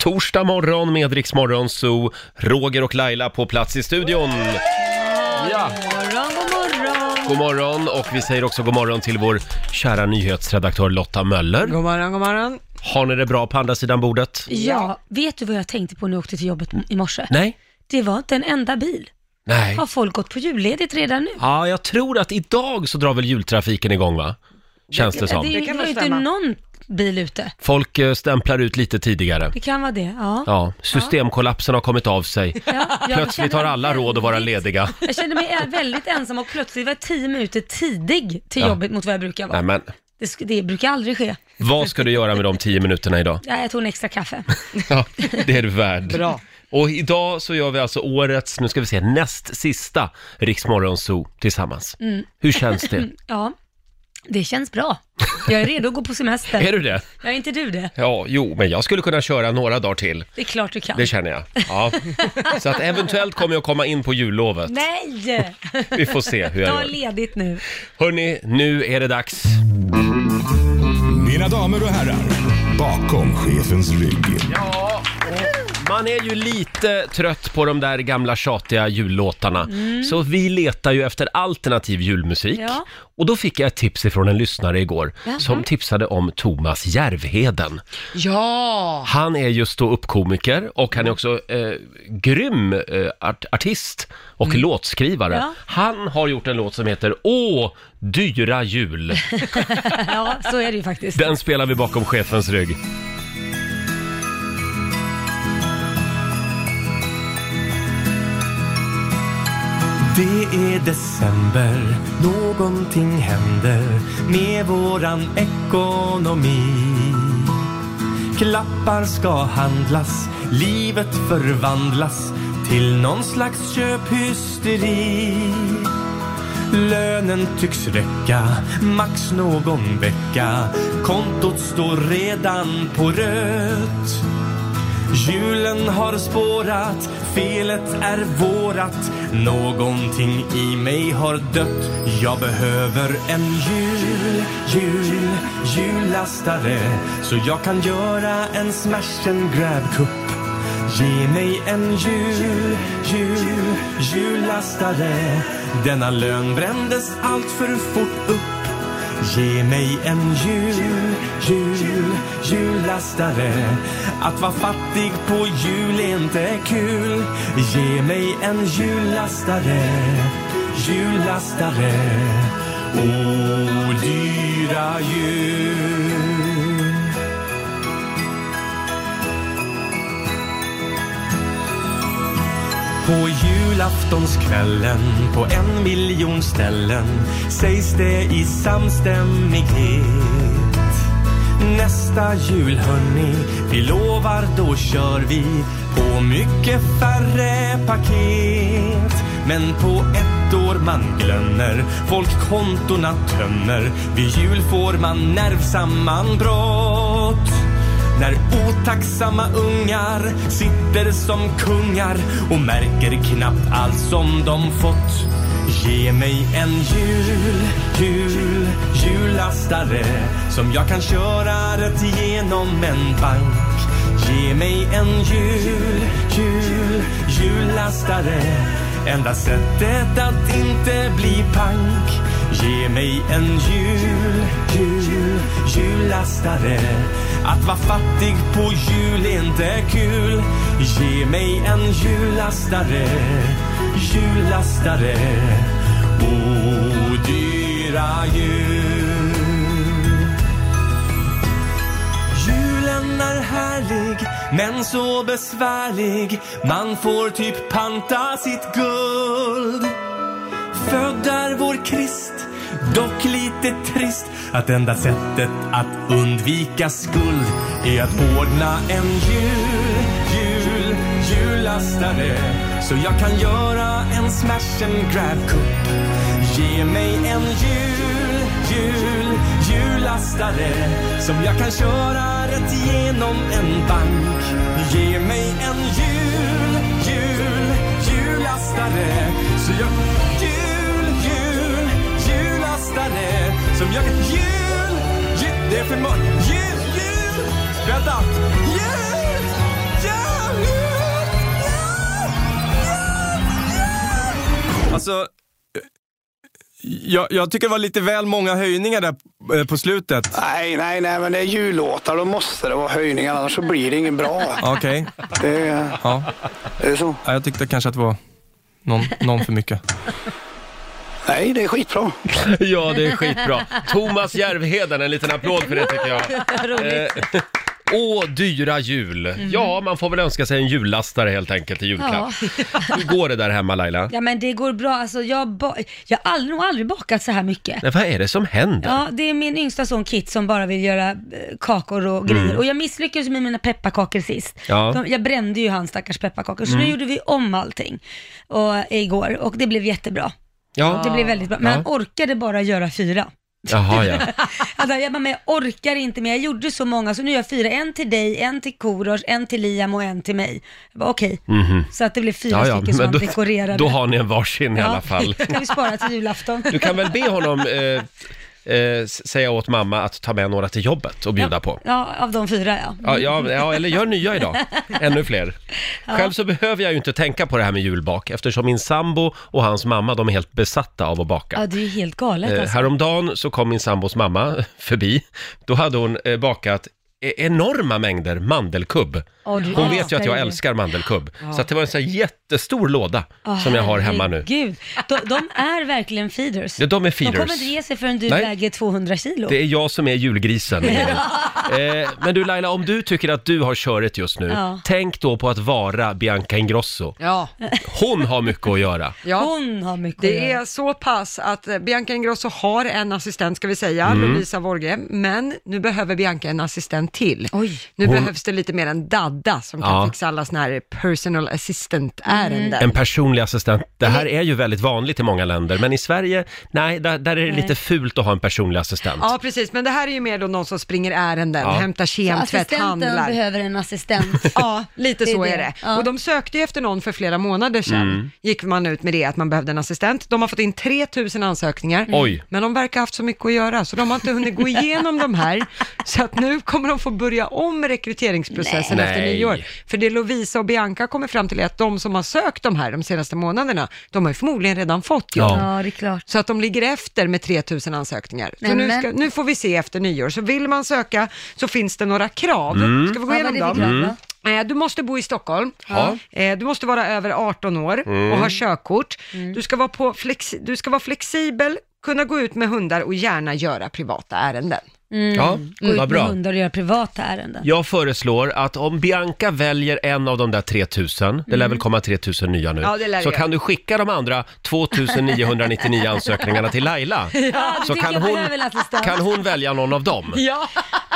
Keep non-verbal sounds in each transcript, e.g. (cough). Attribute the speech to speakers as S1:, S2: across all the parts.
S1: torsdag morgon med Rix Morgon Zoo. Roger och Laila på plats i studion. Ja.
S2: morgon, god morgon.
S1: God morgon och vi säger också god morgon till vår kära nyhetsredaktör Lotta Möller.
S3: God morgon, god morgon.
S1: Har ni det bra på andra sidan bordet?
S2: Ja, vet du vad jag tänkte på när jag åkte till jobbet i morse?
S1: Nej?
S2: Det var inte en enda bil.
S1: Nej.
S2: Har folk gått på julledigt redan nu?
S1: Ja, jag tror att idag så drar väl jultrafiken igång va? Känns det
S2: Det,
S1: som.
S2: det,
S3: kan
S2: var
S3: nog
S2: ju inte
S3: stämma.
S2: någon bil ute.
S1: Folk eh, stämplar ut lite tidigare.
S2: Det kan vara det, ja.
S1: Ja, systemkollapsen har kommit av sig.
S2: Ja, jag
S1: Plötsligt
S2: känner
S1: har
S2: mig
S1: alla råd att vara
S2: väldigt-
S1: lediga.
S2: Jag kände mig väldigt ensam och plötsligt var jag tio minuter tidig till
S1: Ja.
S2: jobbet mot vad jag brukar vara.
S1: Nej, men
S2: Det, sk- det brukar aldrig ske.
S1: vad ska du göra med de tio minuterna idag?
S2: Ja, jag tog en extra kaffe.
S1: Ja, det är du värd.
S3: Bra.
S1: Och idag så gör vi alltså årets, nu ska vi se, näst sista Riksmorgon Zoo tillsammans. Hur känns det?
S2: Mm. Ja, det känns bra. Jag är redo att gå på semester.
S1: Är du det?
S2: Ja, är inte du det?
S1: Ja, jo, men jag skulle kunna köra några dagar till.
S2: Det är klart du kan.
S1: Det känner jag.
S2: (laughs)
S1: Ja. Så att eventuellt kommer jag komma in på jullovet.
S2: Nej!
S1: (laughs) Vi får se hur jag
S2: Ta
S1: gör.
S2: ledigt nu.
S1: Hörni, nu är det dags. Mm.
S4: Mina damer och herrar, bakom chefens rygg.
S1: Ja, man är ju lite trött på de där gamla tjatiga jullåtarna. Så vi letar ju efter alternativ julmusik.
S2: Mm. Ja.
S1: Och då fick jag ett tips ifrån en lyssnare igår
S2: Jaha.
S1: som tipsade om Thomas Järvheden.
S3: Ja!
S1: Han är ju ståuppkomiker och
S2: Mm.
S1: han är också eh, grym eh, art- artist och låtskrivare.
S2: Mm. Ja.
S1: Han har gjort en låt som heter Åh, dyra
S2: (laughs)
S1: jul.
S2: (laughs) Ja, så är det ju faktiskt.
S1: Den spelar vi bakom chefens rygg.
S5: Det är december, någonting händer med våran ekonomi. Klappar ska handlas, livet förvandlas till någon slags köphysteri. Lönen tycks räcka, max någon vecka. Kontot står redan på rött. Julen har spårat, felet är vårat Någonting i mig har dött Jag behöver en jul, jul, jullastare Så jag kan göra en smash and grab-kupp Ge mig en jul, jul, jullastare Denna lön brändes allt för fort upp Ge mig en jul, jul, jullastare Att vara fattig på jul är inte kul Ge mig en jullastare, jullastare Åh, dyra jul På julaftonskvällen på en miljon ställen sägs det i samstämmighet. Nästa jul hörni, vi lovar då kör vi på mycket färre paket. Men på ett år man glömmer, folk kontona tömmer. Vid jul får man nervsammanbrott. När otacksamma ungar sitter som kungar och märker knappt allt som de fått. Ge mig en jul, jul, jullastare som jag kan köra rätt igenom en bank. Ge mig en jul, jul, jullastare Enda sättet att inte bli pank Ge mig en jul, jul, jullastare Att vara fattig på jul är inte kul Ge mig en jullastare, jullastare Åh, dyra jul Julen är härlig men så besvärlig Man får typ panta sitt guld Född är vår Krist Dock lite trist att enda sättet att undvika skuld är att ordna en jul, jul, jullastare så jag kan göra en smash and grab cup Ge mig en jul, jul, jullastare som jag kan köra rätt igenom en bank. Ge mig en jul, jul, jullastare så jag jul, jul, jullastare som jag jul, jul, det är för många jul, jul, vänta, jul, alltså... Jag, jag tycker det var lite väl många höjningar där eh, på slutet.
S6: Nej, nej, nej, men det är jullåtar. Då måste det vara höjningar, annars så blir det inget bra.
S5: Okej,
S6: Det är,
S5: ja.
S6: det är så.
S5: Ja, Jag tyckte kanske att det var någon, någon för mycket.
S6: Nej, det är skitbra.
S1: Ja, det är skitbra. Thomas Järvheden, en liten applåd för det tycker jag.
S2: (laughs)
S1: Eh,
S2: Roligt. Mm.
S1: Åh, dyra jul. Ja, man får väl önska sig en jullastare helt enkelt i julklapp. (laughs) Hur går det där hemma Laila?
S2: Ja men det går bra, alltså jag, ba- jag har aldrig, nog aldrig bakat så här mycket.
S1: Nej, vad är det som händer?
S2: Ja, det är min yngsta son Kit som bara vill göra eh, kakor och grejer. Och jag misslyckades med mina pepparkakor sist.
S1: Mm. Ja. Mm.
S2: De, jag brände ju hans stackars pepparkakor, så nu gjorde vi om allting och, eh, igår och det blev jättebra.
S1: Ja.
S2: Det blev väldigt bra. Men
S1: Ja.
S2: han orkade bara göra fyra.
S1: Jaha, ja.
S2: (laughs) Alltså, jag bara, men jag orkar inte mer. Jag gjorde så många, så nu gör jag fyra. En till dig, en till Korosh, en till Liam och en till mig. Jag bara, okej. Så att det blev fyra
S1: Mhm. ja, ja.
S2: stycken som
S1: Men
S2: han
S1: då,
S2: dekorerade.
S1: då har ni en varsin i
S2: Ja,
S1: alla
S2: (laughs)
S1: fall.
S2: ska vi spara till julafton.
S1: Du kan väl be honom eh, eh, s- säga åt mamma att ta med några till jobbet och bjuda på.
S2: Ja, av de fyra ja.
S1: Ja, ja, ja, eller gör nya idag. Ännu fler. Själv så behöver jag ju inte tänka på det här med julbak eftersom min sambo och hans mamma de är helt besatta av att baka.
S2: Ja, det är ju helt galet
S1: Eh,
S2: alltså.
S1: häromdagen så kom min sambos mamma förbi. Då hade hon eh, bakat e- enorma mängder mandelkubb.
S2: Åh, du
S1: Hon vet ju
S2: älskar
S1: att jag
S2: ju.
S1: älskar mandelkubb. Så att det var en sån här jättestor låda som jag har hemma nu.
S2: Gud, de, de är verkligen feeders.
S1: Ja, de är
S2: De
S1: feeders.
S2: kommer inte ge sig förrän du
S1: Nej.
S2: väger 200 kilo.
S1: Det är jag som är
S2: (laughs)
S1: julgrisen. i helgen. eh, men du Laila, om du tycker att du har köret just nu,
S2: Ja.
S1: tänk då på att vara Bianca Ingrosso.
S3: Ja.
S1: Hon har mycket att göra.
S3: ja.
S2: Hon har mycket att
S3: Det
S2: göra.
S3: är så pass att eh, Bianca Ingrosso har en assistent, ska vi säga,
S1: Mm.
S3: Lovisa Vorge, men nu behöver Bianca en assistent till.
S2: Oj.
S3: Nu behövs det lite mer en dadda som kan
S1: Ja. Mm.
S3: fixa alla såna här personal assistant-ärenden.
S1: En personlig assistent. Det här är ju väldigt vanligt i många länder, men i Sverige, nej, där, där är det lite fult att ha en personlig assistent.
S3: Ja, precis, men det här är ju mer då någon som springer ärenden,
S1: Ja.
S3: hämtar kem, tvätt,
S2: Assistenten
S3: handlar.
S2: behöver en assistent.
S3: (laughs) Ja, lite
S2: Det är
S3: så
S2: det.
S3: är det.
S2: Ja.
S3: Och de sökte ju efter någon för flera månader sedan.
S1: Mm.
S3: Gick man ut med det, att man behövde en assistent. De har fått in 3000 ansökningar.
S1: Mm. Oj.
S3: Men de verkar ha haft så mycket att göra, så de har inte
S1: (laughs)
S3: hunnit gå igenom de här. Så att nu kommer de få börja om rekryteringsprocessen
S1: Nej.
S3: efter
S1: Nej.
S3: nyår. För det Lovisa och Bianca kommer fram till är att de som har sökt de här de senaste månaderna, de har ju förmodligen redan fått jobb.
S1: Ja.
S2: Ja, det är klart.
S3: Så att de ligger efter med 3000 ansökningar. Så
S2: Men,
S3: nu,
S2: men.
S3: ska, nu får vi se efter nyår. Så vill man söka så finns det några krav.
S1: Mm.
S3: Ska vi gå
S2: Vad var
S3: igenom
S2: det
S3: dem?
S2: för krav då?
S3: Eh, Du måste bo i Stockholm,
S1: Ja. Mm.
S3: Eh, du måste vara över 18 år och ha körkort. Du, ska vara på flexi- du ska vara flexibel, kunna gå ut med hundar och gärna göra privata ärenden.
S1: Ja,
S2: Gå
S1: vad
S2: ut med
S1: bra.
S2: hundar och göra privata ärenden.
S1: Jag föreslår att om Bianca väljer en av de där 3000, det lär väl komma 3000 nya nu,
S3: Mm. Ja, det lär det
S1: så
S3: göra.
S1: kan du skicka de andra
S3: (laughs)
S1: 2999 ansökningarna till Laila.
S2: (laughs) Ja,
S1: Så kan hon, kan
S2: (laughs)
S1: hon välja någon av dem.
S3: Ja.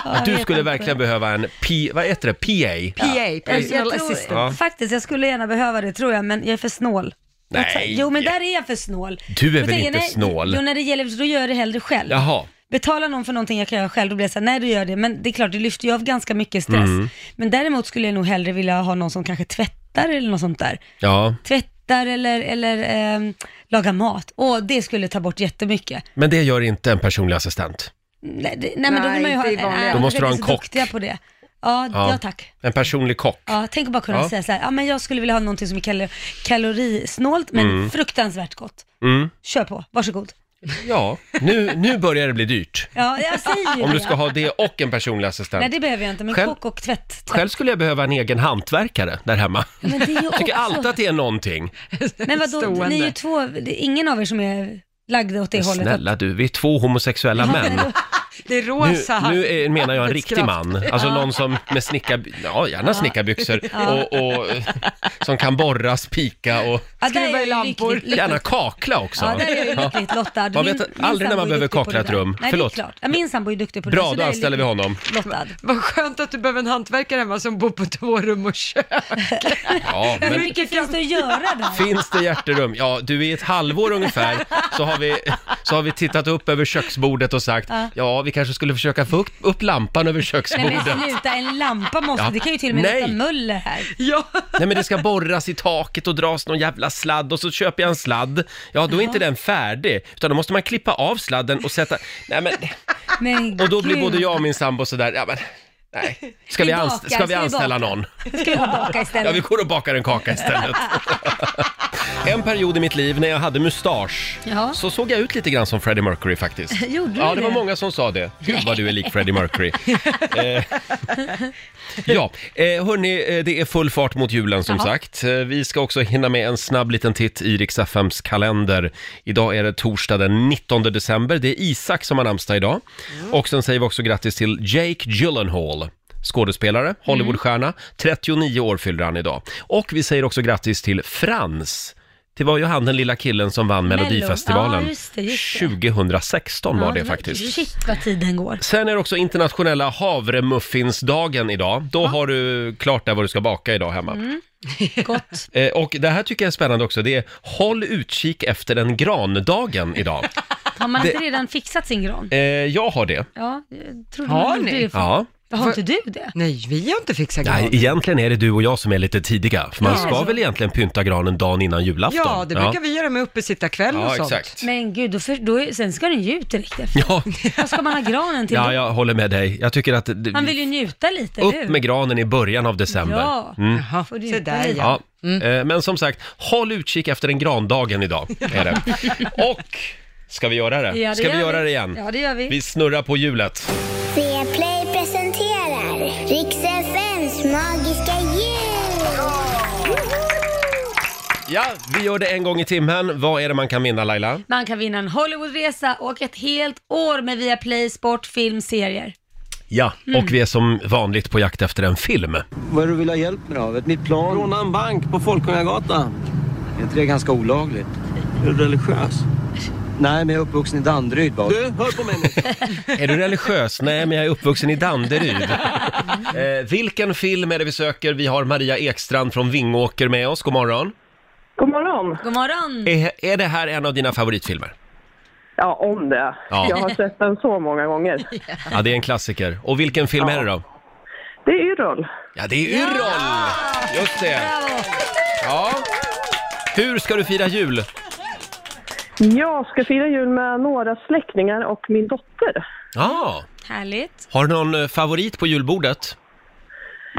S1: Att du skulle verkligen behöva en P, vad heter det, PA?
S3: PA,
S2: Jag,
S3: personal
S2: jag tror,
S3: assistant.
S1: Ja.
S2: Faktiskt, jag skulle gärna behöva det tror jag, men jag är för snål.
S1: Nej.
S2: Jo, men där är jag för snål.
S1: Du är
S2: Då
S1: väl
S2: tänker
S1: inte
S2: jag, nej,
S1: snål?
S2: Jo, när det gäller, då gör jag det hellre själv.
S1: Jaha.
S2: Betala någon för någonting jag kan göra själv, då blir jag såhär, nej du gör det. Men det är klart, det lyfter ju av ganska mycket stress.
S1: Mm.
S2: Men däremot skulle jag nog hellre vilja ha någon som kanske tvättar eller något sånt där.
S1: Ja,
S2: Tvättar eller, eller ehm, lagar mat. Åh, det skulle ta bort jättemycket.
S1: men det gör inte en personlig assistent.
S2: Nej, det, nej, men då
S3: Nej,
S2: vill man ju ha...
S3: inte i vanliga-
S2: nej,
S1: Då måste
S2: jag
S1: du ha
S2: är
S1: en
S2: så
S1: kock.
S2: duktiga på det. Ja,
S1: Ja.
S2: ja. tack.
S1: En personlig kock.
S2: Ja, tänk att bara kunna
S1: Ja.
S2: säga så här, ja men jag skulle vilja ha någonting som är kalor- kalorisnålt men fruktansvärt gott.
S1: Mm.
S2: Kör på, varsågod.
S1: Ja, nu, nu börjar det bli dyrt.
S2: Ja, jag säger ju
S1: Om
S2: det.
S1: du ska ha det och en personlig assistent.
S2: Nej, det behöver jag inte, men
S1: Själv-
S2: kock och tvätt.
S1: Själv skulle jag behöva en egen hantverkare där hemma.
S2: Men det är ju
S1: Tycker alltid
S2: också...
S1: att det är någonting.
S2: Men vadå, ni är ju två, det är ingen av er som är lagda åt det hållet. att-
S1: Snälla du, vi är två homosexuella män.
S3: (laughs) Det är
S1: Nu,
S3: rosa.
S1: nu är, menar jag en riktig
S3: arbetskraft.
S1: man. Alltså någon som med snickar, ja gärna snickarbyxor och, och eh, som kan borra, spika och
S2: Ja, där
S3: skruva
S2: är jag
S3: i lampor.
S2: lyckligt- lyckligt-
S1: gärna kakla också.
S2: Ja, där är jag ju lyckligt lottad.
S1: Man vet
S2: Min- min
S1: aldrig när
S2: sambo
S1: man
S2: är
S1: behöver
S2: duktig på
S1: kakla
S2: det
S1: ett
S2: där.
S1: rum.
S2: Nej,
S1: Förlåt.
S2: det är klart. Ja, min sambo är duktig på det
S1: Bra,
S2: så
S1: då
S2: där är jag
S1: anställer vi honom.
S2: lyckligt Lottad.
S3: Vad skönt att du behöver en hantverkare hemma som bor på två rum
S1: (laughs)
S3: och kök.
S1: Ja,
S2: Hur
S1: men
S2: mycket finns det att göra där?
S1: finns det hjärterum? Ja, du i ett halvår ungefär så har vi, så har vi tittat upp över köksbordet och sagt ja, vi kanske skulle försöka få upp, upp lampan över
S2: Nej
S1: köksbordet.
S2: men sluta, en lampa måste,
S1: Ja.
S2: det kan ju till och med lukta
S1: Nej.
S2: möller här.
S3: Ja.
S1: Nej men det ska borras i taket och dras någon jävla sladd och så köper jag en sladd. Ja, då är inte den färdig, utan då måste man klippa av sladden och sätta... Nej men...
S2: Men
S1: Och då blir
S2: gud.
S1: både jag och min sambo sådär, ja men nej. Ska vi,
S2: Vi
S1: anst- ska vi
S2: bakar, (laughs) ska vi
S1: anställa någon?
S2: Ska jag baka
S1: Ja,
S2: istället? (laughs)
S1: vi går och bakar en kaka istället. En period i mitt liv när jag hade mustasch
S2: Ja.
S1: så såg jag ut lite grann som Freddie Mercury faktiskt.
S2: Gjorde du
S1: Ja, det var
S2: det?
S1: många som sa det. Gud vad du är lik Freddie
S2: (laughs)
S1: Mercury. Eh, ja, eh, hörni, eh, det är full fart mot julen som sagt. Eh, Vi ska också hinna med en snabb liten titt i Rix FMs kalender. Idag är det torsdag den 19 december. Det är Isak som har namnsdag idag.
S2: Mm.
S1: Och sen säger vi också grattis till Jake Gyllenhaal.
S2: Mm.
S1: Skådespelare, Hollywoodstjärna. 39 år fyller han idag. Och vi säger också grattis till Frans. Det var ju han den lilla killen som vann
S2: Mello.
S1: Melodifestivalen.
S2: Ja, just det, just det.
S1: 2016 var
S2: Ja,
S1: det faktiskt.
S2: Shit vad tiden går.
S1: Sen är det också internationella havremuffinsdagen idag. Då har du klart där vad du ska baka idag hemma.
S2: Mm.
S1: (laughs)
S2: Gott.
S1: Eh, och det här tycker jag är spännande också. Det är håll utkik efter en grandagen
S2: (laughs)
S1: idag.
S2: Har man inte redan fixat sin gran?
S1: eh, jag har det.
S2: Ja, jag trodde
S3: Har
S2: man gjorde
S3: ni?
S2: det. För...
S1: Ja.
S2: Har inte du det?
S3: Nej, vi har inte fixat
S1: Nej,
S3: gran.
S1: egentligen är det du och jag som är lite tidiga. För man
S2: Ja,
S1: ska
S2: alltså.
S1: väl egentligen pynta granen dagen innan julafton.
S3: Ja, det brukar vi göra med uppesittarkväll och
S1: Ja,
S3: sånt.
S1: exakt.
S2: Men gud, då för, då är, sen ska den ju ut direkt efter.
S1: (laughs) Ja,
S2: Vad ska man ha granen till?
S1: ja,
S2: då?
S1: jag håller med dig. Jag tycker att... det-
S2: Man vill ju njuta lite, eller
S1: Upp
S2: hur?
S1: med granen i början av december. Mm.
S2: Ja.
S3: Jaha,
S2: Får du
S3: se
S2: inte
S3: där
S2: lida?
S3: ja.
S1: Ja,
S2: Mm.
S1: eh, men som sagt, håll utkik efter den grandagen idag.
S2: (laughs)
S1: Är det. Och, ska vi göra det?
S2: Ja, det
S1: ska vi
S2: gör
S1: göra det igen?
S2: Ja, det gör vi.
S1: Vi snurrar på hjulet.
S7: Play presenterar Rix FMs magiska jul!
S1: Ja, vi gör det en gång i timmen. Vad är det man kan vinna Laila?
S2: Man kan vinna en Hollywoodresa och ett helt år med Viaplay Sport, film, serier.
S1: Ja, Mm. och vi är som vanligt på jakt efter en film.
S8: Vad är det du vill ha hjälp med då? Ett nytt plan?
S5: Råna en bank på Folkungagatan.
S8: Är inte det ganska olagligt?
S5: Är du religiös?
S8: Nej, men jag är uppvuxen i Danderyd va?
S5: Du, hör på mig nu.
S1: (laughs) Är du religiös? Nej, men jag är uppvuxen i
S2: (laughs)
S1: Danderyd. eh, vilken film är det vi söker? Vi har Maria Ekstrand från Vingåker med oss. God morgon.
S9: God morgon!
S2: God morgon!
S1: Är, är det här en av dina favoritfilmer?
S9: Ja, om det.
S1: Ja.
S9: Jag har sett den så många
S2: (laughs)
S9: gånger.
S1: Ja, det är en klassiker. Och vilken film är det då?
S9: Det är Yrrol.
S1: Ja, det är Yrrol! Just det.
S2: Bravo!
S1: Ja. Hur ska du fira jul?
S9: Jag ska fira jul med några släktingar och min dotter.
S1: Ja.
S2: Härligt.
S1: Har du någon eh, favorit på julbordet?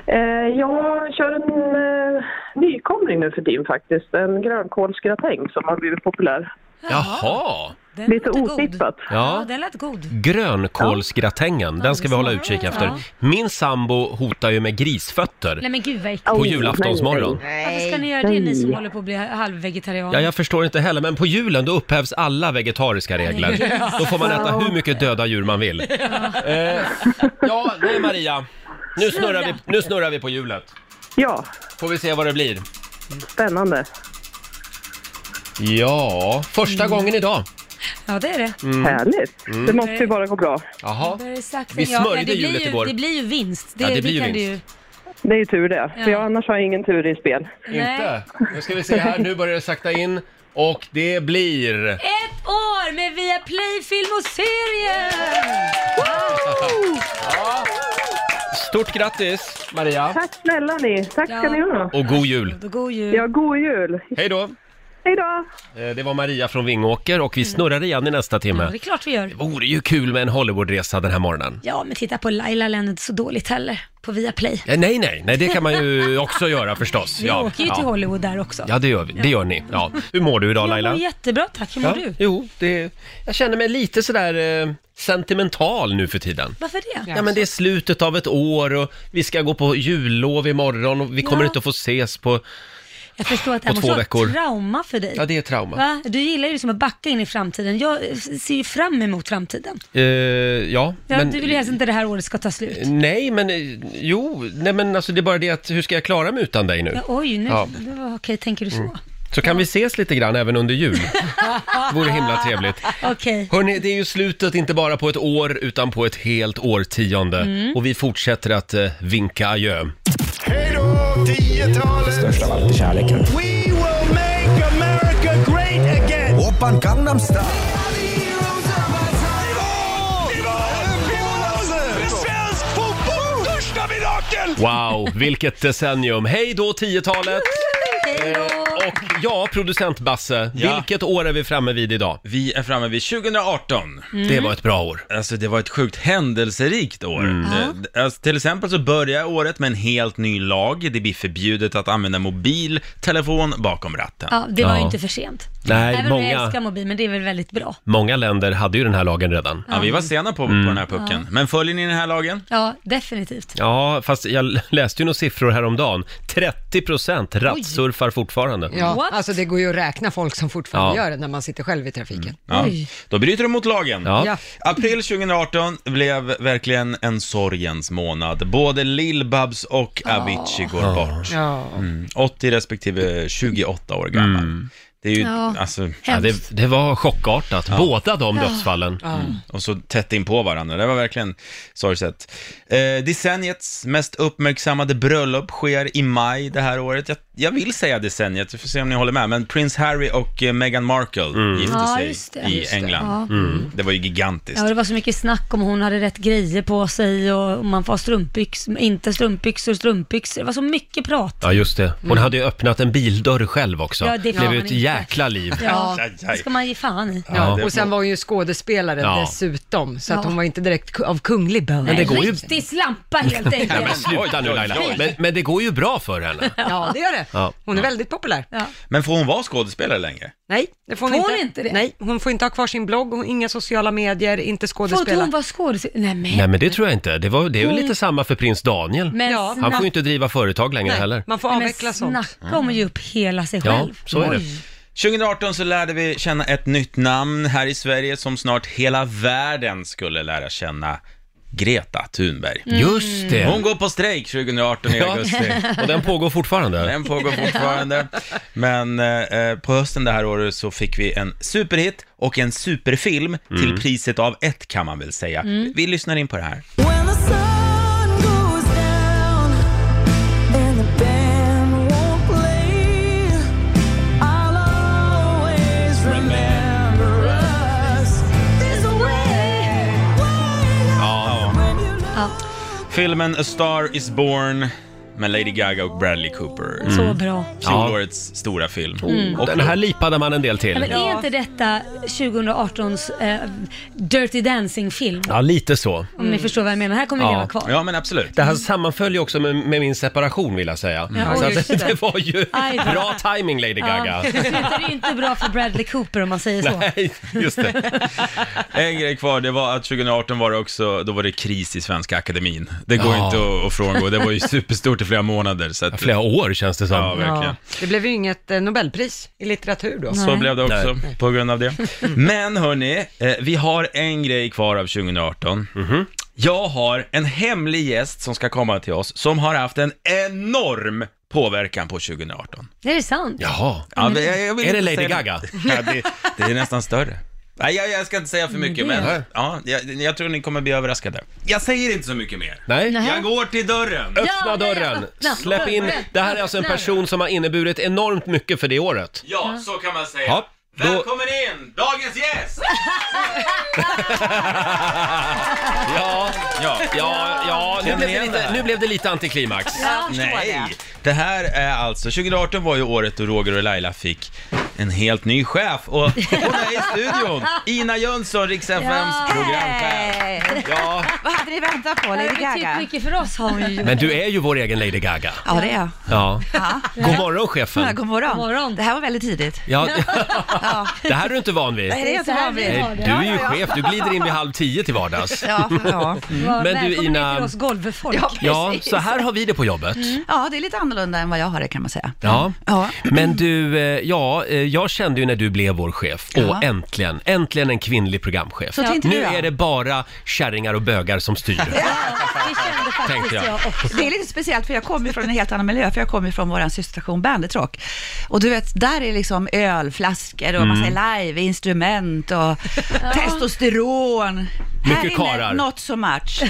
S9: Eh, jag kör en eh, nykomling nu för tiden faktiskt. En grönkålsgratäng som har blivit populär.
S1: Jaha!
S2: Den
S9: Lite
S2: låter god.
S9: otippat.
S2: Ja.
S1: Ja.
S2: den lät god.
S1: Grönkålsgratängen, den ska vi hålla utkik
S2: Ja.
S1: efter. Min sambo hotar ju med grisfötter
S2: Nej men gud vad äckligt.
S1: på
S9: Oj,
S1: julaftonsmorgon.
S9: nej,
S2: Varför ska ni göra det ni som håller på att bli halvvegetarianer?
S1: Ja, jag förstår inte heller, men på julen då upphävs alla vegetariska regler.
S2: (laughs)
S1: Då får man äta hur mycket döda djur man vill. Eh, ja, nej Maria. Nu snurrar, vi, nu snurrar vi på hjulet.
S9: (laughs) Ja,
S1: Får vi se vad det blir.
S9: spännande.
S1: Ja, första
S2: Mm.
S1: gången idag.
S2: Ja, det är det.
S9: Härligt. Det måste ju bara gå bra.
S1: Mm. Jaha.
S2: Det är sagt,
S1: Vi
S2: ja, men
S1: smörjde
S2: det blir
S1: hjulet
S2: ju-
S1: igår.
S2: Det blir ju vinst. Det,
S1: Ja, det
S2: det
S1: blir ju
S2: kan
S1: vinst.
S9: Det är ju tur det, för
S2: Ja.
S9: jag, annars har jag ingen tur i spel.
S2: Du ju. Nej.
S1: Inte? Nu ska vi se här, nu börjar det sakta in. Och det blir...
S2: Ett år med Viaplay film och serier!
S1: Stort grattis Maria!
S9: Tack snälla ni. Tack ska
S2: Ja.
S9: ni ha.
S1: Och god jul!
S2: Då går ju...
S9: Ja, god jul.
S1: Hej då!
S9: Hej då.
S1: Eh, Det var Maria från Vingåker och vi snurrar igen i nästa
S2: Ja, det
S1: timme.
S2: är klart vi gör.
S1: Vore ju kul med en Hollywoodresa den här morgonen.
S2: Ja, men titta på Laila lät inte så dåligt heller på Viaplay.
S1: Eh, Nej, nej, nej, det kan man
S2: (laughs)
S1: ju också göra förstås.
S2: Vi åker ju till
S1: ja.
S2: Hollywood där också.
S1: ja det gör vi. Det gör ni. Ja. Hur mår du idag
S2: Jag
S1: Laila?
S2: mår jättebra tack, hur mår
S1: Ja,
S2: du?
S1: Jo, det... jag känner mig lite sådär eh, sentimental nu för tiden.
S2: Varför det?
S1: Ja men det är slutet av ett år och vi ska gå på jullov imorgon och vi kommer
S2: Ja.
S1: inte att få ses på...
S2: Jag förstår att det här
S1: På två
S2: måste vara
S1: veckor.
S2: ett trauma för dig.
S1: Ja det är trauma.
S2: Va? Du gillar ju liksom att backa in i framtiden. Jag eh, ser ju fram emot framtiden.
S1: Eh, ja,
S2: Ja,
S1: men...
S2: du vill ju helst inte det här året ska ta slut.
S1: Nej, men eh, jo, nej men alltså det är bara det att hur ska jag klara mig utan dig nu?
S2: Ja, oj, nu,
S1: Ja. Mm.
S2: det var, okej, tänker du så?
S1: Så kan vi ses lite grann även under
S2: (laughs)
S1: jul. Det vore himla trevligt.
S2: Okej.
S1: Hörni, det är ju slutet inte bara på ett år utan på ett helt årtionde.
S2: Mm.
S1: Och vi fortsätter att eh, vinka adjö.
S4: Hej då, 10-talet! Största av allt är kärleken. We will make America great again! Oppan Gangnam style.
S1: Wow, vilket decennium! Hej då 10-talet!
S2: Hej då!
S1: Och ja, producent Basse,
S10: Ja.
S1: vilket år är vi framme vid idag? Mm.
S10: Vi är framme vid 2018.
S1: Det var ett bra år. Mm.
S10: Alltså det var ett sjukt händelserikt år. Eh, d- Alltså, till exempel så börjar året med en helt ny lag. Det blir förbjudet att använda mobil, telefon bakom ratten.
S2: Ja, det var
S1: Ja.
S2: ju inte för sent.
S1: Nej,
S2: Även om jag
S1: många-
S2: älskar mobil, men det är väl väldigt bra.
S1: Många länder hade ju den här lagen redan.
S10: Ja, vi
S2: Mm.
S10: var sena på,
S1: Mm.
S10: på den här pucken. Men följer ni den här lagen?
S2: Ja, definitivt.
S1: Ja, fast jag läste ju några siffror häromdagen. 30 procent rattsurfar fortfarande.
S3: Ja,
S2: What?
S3: alltså det går ju att räkna folk som fortfarande
S1: Ja. Mm.
S3: gör det när man sitter själv i trafiken.
S10: Ja.
S2: Oj.
S10: Då bryter de mot lagen.
S1: Ja.
S3: Ja.
S10: April 2018 blev verkligen en sorgens månad. Både Lill-Babs och Avicii går bort.
S3: Ja.
S10: Mm. 80 respektive 28 år gammal. Det är ju,
S2: Ja.
S10: alltså,
S1: Mm. Ja,
S2: Hemskt.
S1: det, det var chockartat, båda de dödsfallen.
S10: Mm. och så tätt in på varandra. Det var verkligen sorgset. Eh, decenniets mest uppmärksammade bröllop sker i maj det här året. Jag, jag vill säga decenniet, vi får se om ni håller med, men Prince Harry och eh, Meghan Markle
S1: Mm.
S10: gifte
S2: Mm. Ja,
S10: sig
S2: just det.
S10: i
S2: Just det.
S10: England. Mm. Det. var ju gigantiskt.
S2: Ja, det var så mycket snack om hon hade rätt grejer på sig och om man får ha strumpbyxor, inte strumpbyxor, strumpbyxor. Det var så mycket prat.
S1: Ja, just det. Hon hade ju öppnat en bildörr själv också.
S2: Mm. Ja, det
S1: det
S2: får
S1: blev ju
S2: man
S1: ett
S2: inte.
S1: jäkla liv.
S2: Ja,
S10: Aj, aj.
S2: det ska man ge fan i.
S1: Ja, det-
S3: Och sen var hon ju skådespelare
S1: Ja.
S3: dessutom, så att
S2: Ja.
S3: hon var inte direkt ku- av kunglig börd.
S2: Nej,
S1: går ju-
S2: Riktig slampa helt enkelt.
S1: Nej, men sluta nu Laila. Men, men det går ju bra för
S10: (laughs)
S1: henne.
S3: (laughs) Ja, det gör det.
S1: Ja.
S3: Hon är väldigt populär.
S2: Ja.
S10: Men får hon vara skådespelare längre?
S3: Nej, det får hon
S2: Får
S3: inte.
S2: hon inte det?
S3: Nej, hon får inte ha kvar sin blogg, hon, inga sociala medier, inte
S2: Får inte
S3: skådespelare.
S2: hon vara skådespelare? Nej,
S1: Nej,
S2: men,
S1: men det tror jag inte. Det, var, det är väl
S2: Hon-
S1: lite samma för prins Daniel.
S2: men
S3: Ja,
S1: Han
S2: snacka,
S1: får ju inte driva företag längre heller.
S3: man får
S2: men
S3: avveckla sånt.
S2: snacka om att ge upp hela sig
S1: Ja,
S2: själv.
S1: så är det.
S2: Oj.
S10: 2018 så lärde vi känna ett nytt namn här i Sverige som snart hela världen skulle lära känna. Greta Thunberg.
S2: Mm.
S1: Just det!
S10: Hon går på strejk 2018 i
S1: Ja.
S10: augusti.
S1: (laughs) Och den pågår fortfarande.
S10: Den pågår fortfarande. Men eh, eh, på hösten det här året så fick vi en superhit och en superfilm
S1: Mm.
S10: till priset av ett kan man väl säga.
S2: Mm.
S10: Vi lyssnar in på det här. Filmen A Star Is Born med Lady Gaga och Bradley Cooper.
S2: Mm. Så bra.
S10: Fjolårets stora film. Och
S1: Mm. Den här lipade man en del
S2: Ja, men
S1: till.
S2: är inte detta 2018s eh, Dirty Dancing-film?
S1: Ja, lite så.
S2: Mm. Om ni förstår vad jag menar. Här kommer
S1: Mm. Ja.
S2: vi leva kvar.
S10: Ja, men absolut.
S1: Det här sammanföll ju också med, med min separation vill jag säga.
S2: Ja,
S1: Så att, (laughs)
S3: just det.
S1: det var ju
S2: Aj då.
S1: bra timing Lady
S2: (laughs)
S1: Gaga.
S2: Ja, det är ju inte bra för Bradley Cooper om man säger så.
S1: Nej, just det.
S10: (laughs) En grej kvar, det var att 2018 var det också, då var det kris i Svenska Akademin. Det går
S1: Ja.
S10: inte att, att frångå, det var ju superstort i flera månader. Så att,
S1: Flera år känns det som.
S10: Ja, verkligen.
S3: Ja. Det blev ju inget eh, Nobelpris i litteratur då.
S10: Så
S2: Nej.
S10: blev det också på grund av
S2: (laughs)
S10: det. Men hörni, eh, vi har en grej kvar av 2018.
S1: Mhm.
S10: Jag har en hemlig gäst som ska komma till oss som har haft en enorm påverkan på 2018.
S2: Är det sant?
S1: Jaha.
S10: Ja,
S2: Mm.
S10: men jag- jag vill
S1: Är det
S10: inte
S1: Lady
S10: säga-
S1: Gaga?
S10: (laughs) Ja, det, det är nästan större. Nej, jag, jag ska inte säga för
S2: Mm,
S10: mycket, men ja, jag, jag tror ni kommer bli överraskade. Jag säger inte så mycket mer.
S1: Nej.
S2: Nej.
S10: Jag går till dörren.
S1: Öppna
S2: Ja, nej,
S1: dörren!
S2: öppna.
S1: Släpp in. Det här är alltså en
S2: Öppna.
S1: person som har inneburit enormt mycket för det året.
S10: Ja, så kan man säga.
S1: Ja, då-
S10: Välkommen in, dagens gäst!
S1: (laughs) Ja,
S10: Ja.
S1: ja, ja. Nu
S10: Känner
S1: blev
S10: ni
S1: det
S10: igen det
S1: lite,
S10: här?
S1: nu blev det lite antiklimax.
S10: Nej, det här är alltså, 2018 var ju året då Roger och Laila fick en helt ny chef och hon är i
S2: (laughs)
S10: studion! Ina Jönsson, Rix FMs programchef.
S1: Ja.
S11: Vad hade ni väntat på? Lady
S2: Betytt
S11: Gaga?
S2: typ mycket för oss har
S11: (laughs)
S2: hon ju gjort.
S1: Men du är ju vår egen Lady Gaga.
S11: Ja, det är jag.
S1: Ja. God morgon
S11: Ja,
S1: chefen.
S11: god, morgon.
S2: God morgon.
S11: Det här var väldigt tidigt.
S1: Ja. (laughs) Det här är du inte van vid.
S11: Nej, det är jag
S2: Så
S11: inte
S2: här
S11: van
S2: vi
S11: vid.
S2: har
S1: Du
S2: det.
S1: är ju chef, du glider in vid halv tio till vardags. Mm.
S11: Ja, ja.
S1: Men
S2: Ja,
S1: du,
S2: välkommen
S1: Ina-
S2: hit till oss golvfolk. Mm.
S11: Ja,
S1: Ja,
S11: precis.
S1: så här har vi det på jobbet.
S11: ja, det är lite annorlunda än vad jag har det kan man säga.
S1: Ja.
S11: Ja.
S1: Men du, eh, ja, eh, jag kände ju när du blev vår chef, åh
S11: Ja.
S1: äntligen, äntligen en kvinnlig programchef.
S11: Så tänkte
S1: Nu
S11: du, ja.
S1: är det bara kärringar och bögar som styr.
S2: Det kände faktiskt
S1: Tänkte jag.
S2: jag också.
S11: Det är lite speciellt för jag kommer ju från en helt annan miljö, för jag kommer ju från vår systerstation Bandit Rock. Och du vet, där är liksom ölflaskor och massa
S1: Mm.
S11: live-instrument och testosteron.
S1: Mycket
S11: här inne,
S1: karlar.
S11: not so much.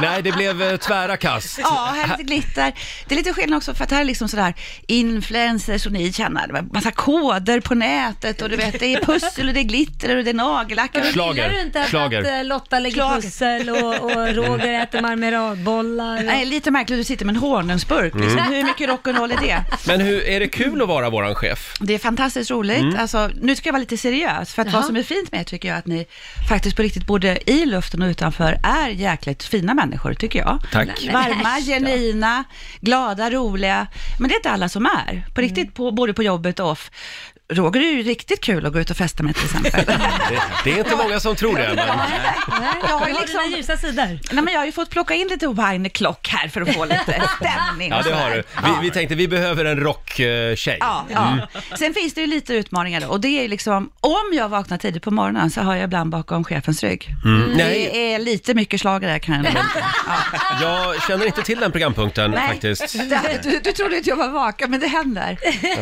S1: Nej, det blev eh, tvära kast.
S11: Ja, här är lite glitter. Det är lite skillnad också för att här är liksom sådär influencers och ni känner, det var massa koder på nätet och du vet, det är pussel och det är glitter och det är nagellack.
S1: Men Schlager.
S2: Gillar du inte att, att eh, Lotta lägger
S11: Schlager.
S2: pussel och, och Roger äter marmeladbollar?
S11: Nej, lite märkligt. Du sitter med en honungsburk. Liksom.
S1: Mm.
S11: Hur mycket rock'n'roll är det?
S1: Men hur, är det kul att vara våran chef?
S11: Det är fantastiskt roligt.
S1: Mm.
S11: Alltså, nu ska jag vara lite seriös, för att vad
S1: Jaha.
S11: som är fint med er tycker jag att ni faktiskt på riktigt, både i luften och utanför, är jäkligt fina människor tycker jag.
S1: Tack.
S11: Nej, men Varma,
S12: äsch då.
S11: genuina, glada, roliga. Men det är inte alla som är, på riktigt, på, både på jobbet och off. Roger är ju riktigt kul att gå ut och festa med till (laughs) exempel.
S1: Det, det är inte många som tror det, men...
S11: Jag har
S2: Du har dina
S11: ljusa sidor. Nej, men jag har ju fått plocka in lite Wine Clock här för att få lite (laughs) stämning. och
S1: Ja, det
S11: sådär.
S1: har du.
S11: Ja.
S1: Vi, vi tänkte, vi behöver en rocktjej. Mm.
S11: Ja, ja. Sen finns det ju lite utmaningar då, och det är ju liksom, om jag vaknar tidigt på morgonen så har jag ibland bakom chefens rygg.
S1: Mm. Nej.
S11: Det är lite mycket slagare kan jag nog-
S1: Jag känner inte till den programpunkten faktiskt.
S11: det, du, du trodde inte jag var vaken, men det händer.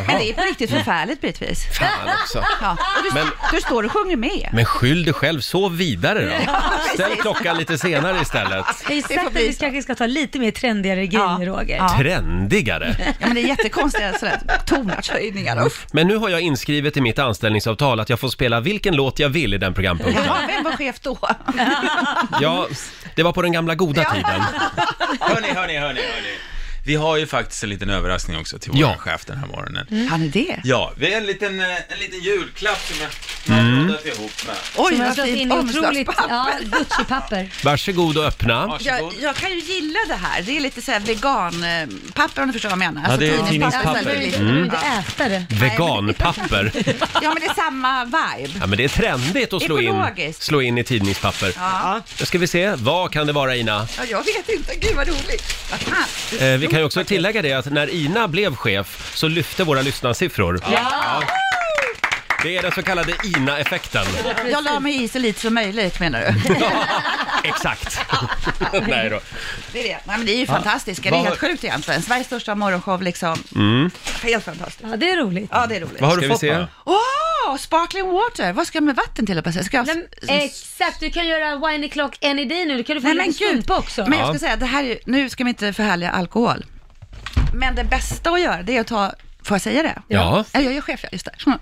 S11: Men det är på riktigt förfärligt bitvis.
S1: Fan också.
S11: Ja, och du,
S1: Men-
S11: du står och sjunger med.
S1: Men skyll dig själv, sov vidare då.
S11: Ja,
S1: Ställ
S11: precis.
S1: klockan lite senare istället.
S2: Det är ju sagt att vi kanske ska ta lite mer trendigare grejer, Roger.
S1: Trendigare.
S11: Ja, men det är jättekonstiga sådär, tonartshöjningar. Uff.
S1: Men nu har jag inskrivet i mitt anställningsavtal att jag får spela vilken låt jag vill i den programpunkten.
S11: Ja, vem var chef då?
S1: Ja, det var på den gamla goda tiden.
S10: Hörni, hörni, hörni, hörni. Vi har ju faktiskt en liten överraskning också till vår chef den här morgonen.
S11: Han är det?
S10: Ja, vi har en liten, eh, en liten julklapp som jag
S1: Mm.
S10: har rodat ihop med.
S11: Oj,
S2: Som har
S11: vad
S2: slått
S11: fint
S2: in i otroligt,
S1: (laughs)
S11: omslagspapper.
S2: ja, Gucci-papper.
S1: Varsågod och öppna.
S11: Jag, jag kan ju gilla det här. Det är lite såhär veganpapper om du förstår vad jag menar.
S1: Ja, det är tidningspapper.
S11: alltså, det är lite-
S1: Mm.
S11: äta det. (laughs)
S1: Veganpapper.
S11: Ja, men det är samma vibe.
S1: Ja, men det är trendigt att slå in,
S11: Ekologiskt.
S1: slå in i tidningspapper.
S11: Ja.
S1: Då ska vi se, vad kan det vara Ina?
S11: ja, jag vet inte. Gud vad roligt. Vad fan.
S1: Eh, vi kan ju också tillägga det att när Ina blev chef så lyfte våra lyssnarsiffror.
S11: Ja.
S1: Det är den så kallade
S11: (laughs)
S1: Ina-effekten.
S11: Jag la mig i så lite som möjligt menar
S1: Mm.
S11: du? (laughs)
S1: Exakt. Nej då.
S11: Det är det. Nej, men det är ju
S1: Ja.
S11: fantastiskt. Det är
S1: Vad-
S11: helt sjukt egentligen. Sveriges största morgonshow liksom.
S1: Mm.
S11: Helt fantastiskt. Ja, det är roligt. Ja, det är roligt.
S1: Vad har du Ska vi fått, se? då?
S11: Åh, sparkling water! Vad ska jag med vatten till? hoppas jag? Ska jag...
S13: Exakt, du kan göra Winey Clock any day nu. Du kan du få
S11: Nej,
S13: en
S11: men
S13: liten
S11: gud.
S13: strumpa också.
S11: Men jag ska säga, det här är, ju- nu ska vi inte förhärliga alkohol. Men det bästa att göra, det är att ta, får jag säga det?
S1: Ja.
S11: Ja, jag är chef, ja, just
S13: (laughs)
S11: det. Mm.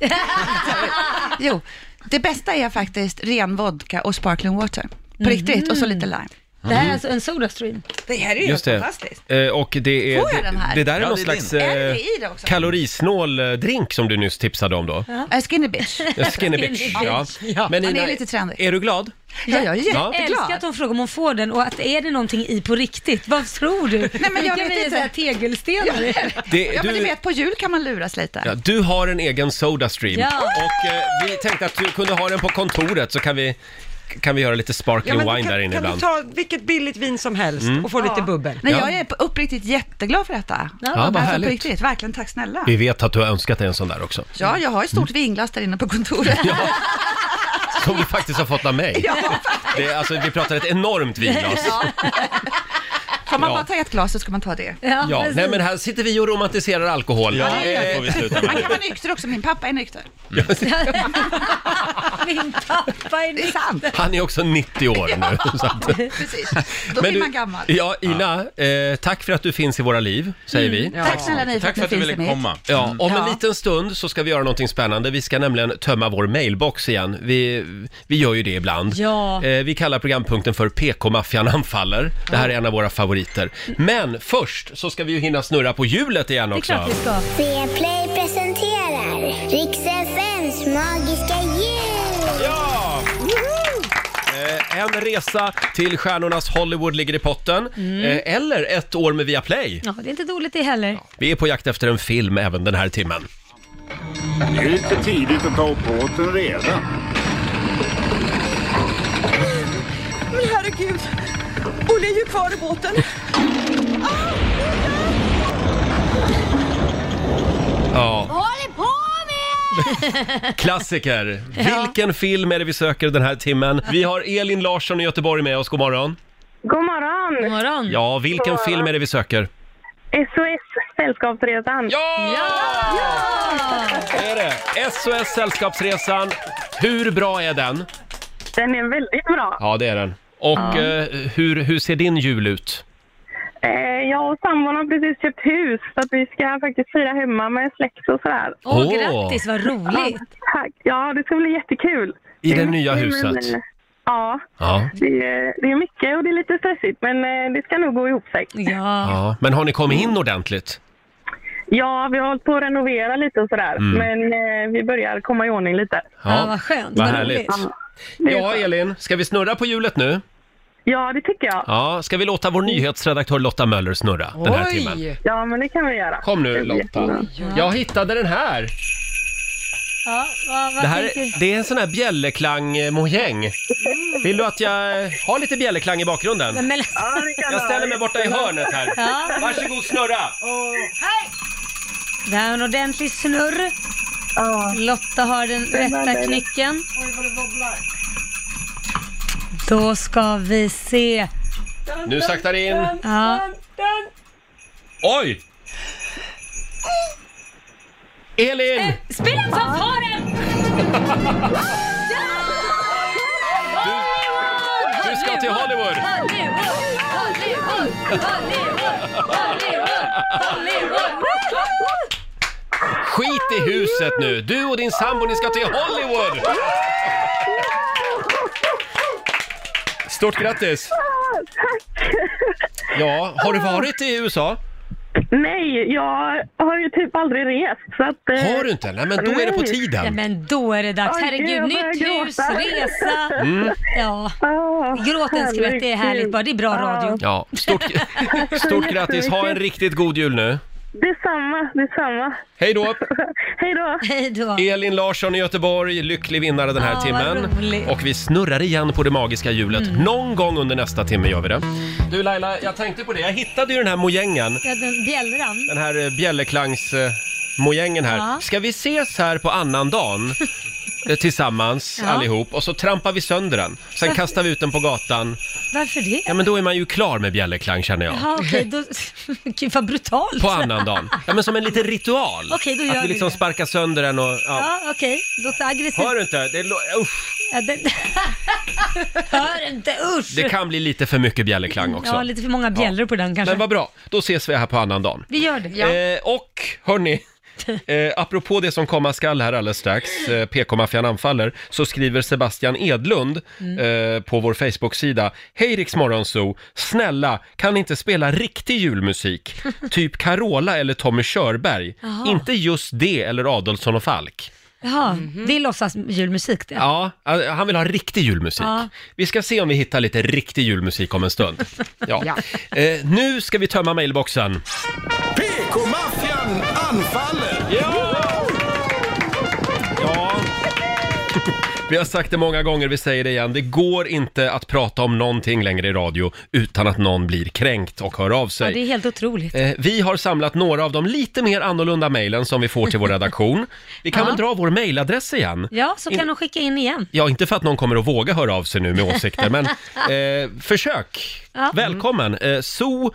S11: jo, det bästa är faktiskt ren vodka och sparkling water. På riktigt, och
S13: Mm.
S11: så lite lime.
S1: Det här är alltså
S11: en Sodastream. Det här är ju
S1: Just det.
S11: fantastiskt.
S1: Eh, och det är,
S11: Får jag den
S1: det,
S11: här?
S1: det där är
S11: Ja,
S1: någon
S11: det är
S1: slags
S11: din. Är det
S1: eh,
S11: i det också?
S1: kalorisnål eh, drink som du nyss tipsade om då.
S11: Ja. Skinny bitch.
S1: Ja, Skinny bitch, ja. Men
S11: Han
S1: Ina,
S11: är lite trendig.
S1: är du glad?
S11: Ja, jag är
S1: Ja.
S2: Jag älskar att hon frågar om hon får den och att är det någonting i på riktigt? Vad tror du?
S11: Nej, men
S2: Vilka
S11: jag vet
S2: vi är
S11: inte.
S2: så här tegelstenar.
S1: Det-
S11: ja, men
S1: du-
S11: du vet, på jul kan man luras lite.
S1: Ja, du har en egen Sodastream
S11: Ja.
S1: och eh, vi tänkte att du kunde ha den på kontoret så kan vi, kan vi göra lite
S3: Ja,
S1: sparkling
S3: men
S1: wine
S3: kan,
S1: där inne
S3: kan
S1: ibland.
S3: du ta vilket billigt vin som helst
S1: Mm.
S3: och få lite
S11: Ja.
S3: bubbel?
S11: Nej,
S1: Ja.
S11: jag är på- uppriktigt jätteglad för detta.
S1: Ja, vad härligt.
S11: På riktigt, verkligen tack snälla.
S1: Vi Mm. vet att du har önskat dig en sån där också.
S11: Ja, jag har ett stort vinglas där inne på kontoret.
S1: (laughs)
S11: (laughs)
S1: Som du faktiskt har fått av mig.
S11: Ja.
S1: (laughs) Det, är- alltså, vi pratar ett enormt vinglas.
S11: (laughs) Ja. Får man
S1: Ja.
S11: bara ta ett glas så ska man ta det.
S1: Ja, nej men här sitter vi och romantiserar alkohol.
S11: Ja, det gör vi.
S1: Eh, Mm.
S11: Man kan vara nykter också, min pappa
S1: (laughs)
S11: är nykter.
S2: Min pappa är nykter.
S11: Det är sant.
S1: Han är också 90 år nu. så att-
S11: (laughs) Precis,
S1: Men
S11: då blir
S1: du-
S11: man gammal.
S1: Ja, Ina, eh, tack för att du finns i våra liv, säger
S11: Mm.
S1: vi.
S11: Ja. Tack snälla ni för Tack att för ni att du finns ville i mitt. komma. Mm.
S1: Ja, om
S11: Ja.
S1: en liten stund så ska vi göra någonting spännande. Vi ska nämligen tömma vår mailbox igen. Vi, vi gör ju det ibland.
S2: Ja.
S1: Eh, vi kallar programpunkten för PK-maffian anfaller. Det här är en av våra favoriter. Men först så ska vi ju hinna snurra på hjulet igen också.
S7: Viaplay presenterar Riks FMs magiska jul!
S1: Ja! Eh, En resa till stjärnornas Hollywood ligger i potten.
S2: Mm.
S1: Eh, Eller ett år med Viaplay.
S2: Ja, det är inte dåligt
S12: (laughs)
S2: det heller.
S1: Vi är på jakt efter en film även den här timmen.
S4: Det är lite tidigt att ta upp båten redan.
S12: Men herregud, Olle är ju kvar i båten.
S1: Ja,
S12: håller på med?
S1: klassiker. Vilken film är det vi söker den här timmen? Vi har Elin Larsson i Göteborg med oss. God morgon.
S14: God morgon! God morgon!
S1: Ja, vilken film är det vi söker?
S14: SOS Sällskapsresan.
S1: Ja! Det är det. SOS Sällskapsresan. Hur bra är den?
S14: Den är väldigt bra.
S1: Ja, det är den. Och
S14: Ja.
S1: eh, hur, hur ser din jul ut?
S14: Eh, jag och sambon har precis köpt hus så att vi ska faktiskt fira hemma med släkt och sådär.
S1: Åh, Åh. grattis,
S2: vad roligt!
S14: Ja, tack. Ja, det ska bli jättekul.
S1: I det
S14: är
S1: nya
S14: mycket,
S1: huset?
S14: men, eh, ja,
S1: Ja.
S14: det, är- det är mycket och det är lite stressigt men eh, det ska nog gå ihop sig.
S1: Ja. Men har ni kommit in ordentligt?
S14: Ja, vi har hållit på att renovera lite och sådär
S1: Mm.
S14: men eh, vi börjar komma i ordning lite.
S1: Ja, Ja, vad skönt. vad härligt.
S14: det är
S1: Ja, Elin, ska vi snurra på hjulet nu?
S14: Ja, det tycker jag.
S1: Ja, ska vi låta vår nyhetsredaktör Lotta Möller snurra den här timmen?
S14: Ja, men det kan vi göra.
S1: Kom nu
S14: Det blir
S1: Lotta.
S14: jättebra.
S1: Jag hittade den här.
S2: Ja, vad, vad
S1: Det, här
S2: tänker- Mm.
S1: är, det är en sån här bjällerklang-mojäng. Vill du att jag eh, har lite bjällerklang i bakgrunden?
S2: Nej, men...
S1: Jag ställer mig borta i hörnet här.
S2: Ja.
S1: Varsågod snurra!
S2: Det här är en ordentlig snurr. Lotta har den rätta knycken.
S12: Oj, vad det wobblar.
S2: Då ska vi se.
S1: Nu saktar det in.
S2: Ja.
S1: Oj! Elin!
S2: Eh, Spela fanfaren!
S1: Du ska till Hollywood! Skit i huset nu! Du och din sambo, ni ska till Hollywood! Stort grattis! Ja, har du varit i USA?
S14: Nej, jag har ju typ aldrig rest så att... eh,
S1: Har du inte? Nej, men då är det på tiden.
S2: Nej, men då är det dags.
S14: Oj, gud,
S2: Herregud,
S14: jag börjar
S2: nytt hus,
S14: gråta.
S2: resa.
S1: Mm.
S2: Ja. Gråt en skvätt, det är härligt bara. Det är bra radio.
S1: Ja, stort, stort grattis! Ha en riktigt god jul nu!
S14: Detsamma, detsamma.
S15: (laughs)
S1: Hej då!
S14: Hej då!
S1: (laughs)
S2: Hej då!
S1: Elin Larsson i Göteborg, lycklig vinnare den här
S14: Ja, vad
S1: timmen.
S14: roligt.
S1: Och vi snurrar igen på det magiska hjulet.
S2: Mm.
S1: Någon gång under nästa timme gör vi det. Du Laila, jag tänkte på det. Jag hittade ju den här mojängen.
S2: Ja, den bjällran.
S1: Den här eh, bjällerklangs eh, mojängen här.
S2: Ja.
S1: Ska vi ses här på
S2: (laughs)
S1: annandagen eh, tillsammans
S2: Ja.
S1: allihop och så trampar vi sönder den. Sen kastar vi ut den på gatan.
S2: Varför det?
S1: Ja men då är man ju klar med bjällerklang känner jag.
S2: Jaha, okej. Då... (laughs) Gud, vad brutalt.
S1: På annandagen. Ja men som en liten ritual.
S2: Okej, då gör
S1: Att vi
S2: vi
S1: liksom
S2: det.
S1: sparkar sönder den och... Ja.
S2: Ja, okej. Låter aggressivt.
S1: Hör du inte? Det lå- usch.
S2: Ja, det... (laughs) Hör inte, usch!
S1: Det kan bli lite för mycket bjällerklang också.
S2: Ja, lite för många bjällror på den kanske.
S1: Men vad bra, då ses vi här på annan dag.
S2: Vi gör det.
S1: Eh, och
S2: (laughs)
S1: hörni, eh, apropå det som komma skall här alldeles strax, eh, PK-maffian anfaller, så skriver Sebastian Edlund
S2: Mm.
S1: eh, på vår Facebook-sida Hej Rix Morgonzoo, snälla kan ni inte spela riktig julmusik?
S2: (laughs)
S1: typ Carola eller Tommy Körberg.
S2: Jaha.
S1: Inte just det eller Adolfsson och Falk.
S2: Jaha, det är låtsas julmusik det.
S1: Ja, eh, han vill ha riktig julmusik.
S2: Ja.
S1: Vi ska se om vi hittar lite riktig julmusik om en
S2: (laughs)
S1: stund. Ja.
S2: Ja.
S1: Eh, nu ska vi tömma mailboxen.
S4: PK-maffian anfaller!
S1: Vi har sagt det många gånger, vi säger det igen. Det går inte att prata om någonting längre i radio utan att någon blir kränkt och hör av
S2: Ja, det är
S1: sig.
S2: helt otroligt.
S1: Eh, Vi har samlat några av de lite mer annorlunda mejlen som vi får till vår redaktion. Vi kan
S2: Ja.
S1: väl dra vår mejladress igen?
S2: Ja, så
S1: In-
S2: kan de skicka in igen.
S1: Ja, inte för att någon kommer att våga höra av sig nu med åsikter,
S2: (laughs)
S1: men eh, försök.
S2: Ja.
S1: Välkommen! Eh, so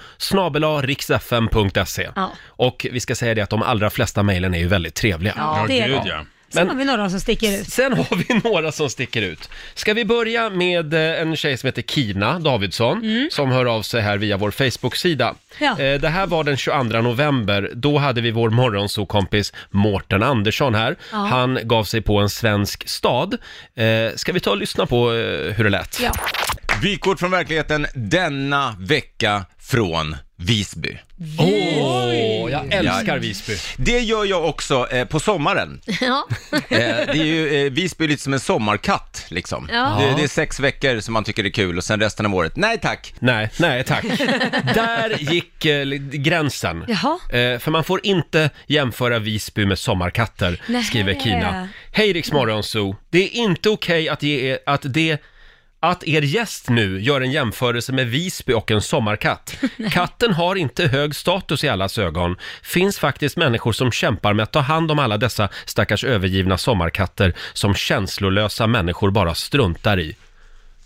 S1: riksfm.se.
S2: Ja.
S1: Och vi ska säga det att de allra flesta mejlen är ju väldigt trevliga.
S2: Ja, det är de. Sen
S1: Men-
S2: har vi några som sticker ut.
S1: Sen har vi (laughs) några som sticker ut. Ska vi börja med eh, en tjej som heter Kina Davidsson som hör av sig här via vår Facebook-sida.
S2: Mm. Ja.
S1: Eh, Det här var den 22 november. Då hade vi vår morgonsokompis Mårten Andersson här.
S2: Ja.
S1: Han gav sig på en svensk stad. Eh, Ska vi ta och lyssna på eh, hur det lät?
S2: Ja.
S16: Vykort från verkligheten denna vecka från Visby.
S1: Åh, jag älskar Visby.
S16: Det gör jag också eh, på sommaren.
S2: Ja.
S16: Eh, det är ju eh, Visby är lite som en sommarkatt liksom.
S2: Ja.
S16: Det, det är sex veckor som man tycker är kul och sen resten av året, nej tack.
S1: Nej,
S16: (laughs)
S1: nej tack. Där gick eh, li- gränsen.
S2: (laughs) Jaha.
S1: Eh, för man får inte jämföra Visby med sommarkatter,
S2: Nej.
S1: skriver Kina. Hej Rix Morgonzoo. Det är inte okej att, ge er, att det att er gäst nu gör en jämförelse med Visby och en
S2: (laughs)
S1: sommarkatt. Katten har inte hög status i allas ögon. Finns faktiskt människor som kämpar med att ta hand om alla dessa stackars övergivna sommarkatter som känslolösa människor bara struntar i.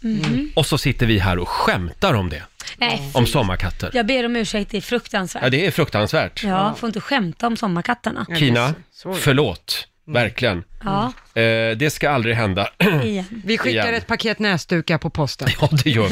S2: Mhm.
S1: Och så sitter vi här och skämtar om det.
S2: Nej,
S1: Om sommarkatter.
S2: jag ber om ursäkt, det är fruktansvärt.
S1: Ja, det är fruktansvärt.
S2: Ja, får inte skämta om sommarkatterna.
S3: Mm.
S1: Kina, förlåt. Verkligen.
S2: Ja,
S1: Eh, det ska aldrig hända. (clears throat)
S3: Vi skickar
S1: Igen.
S3: ett paket näsdukar på posten.
S1: Ja, (laughs) det gör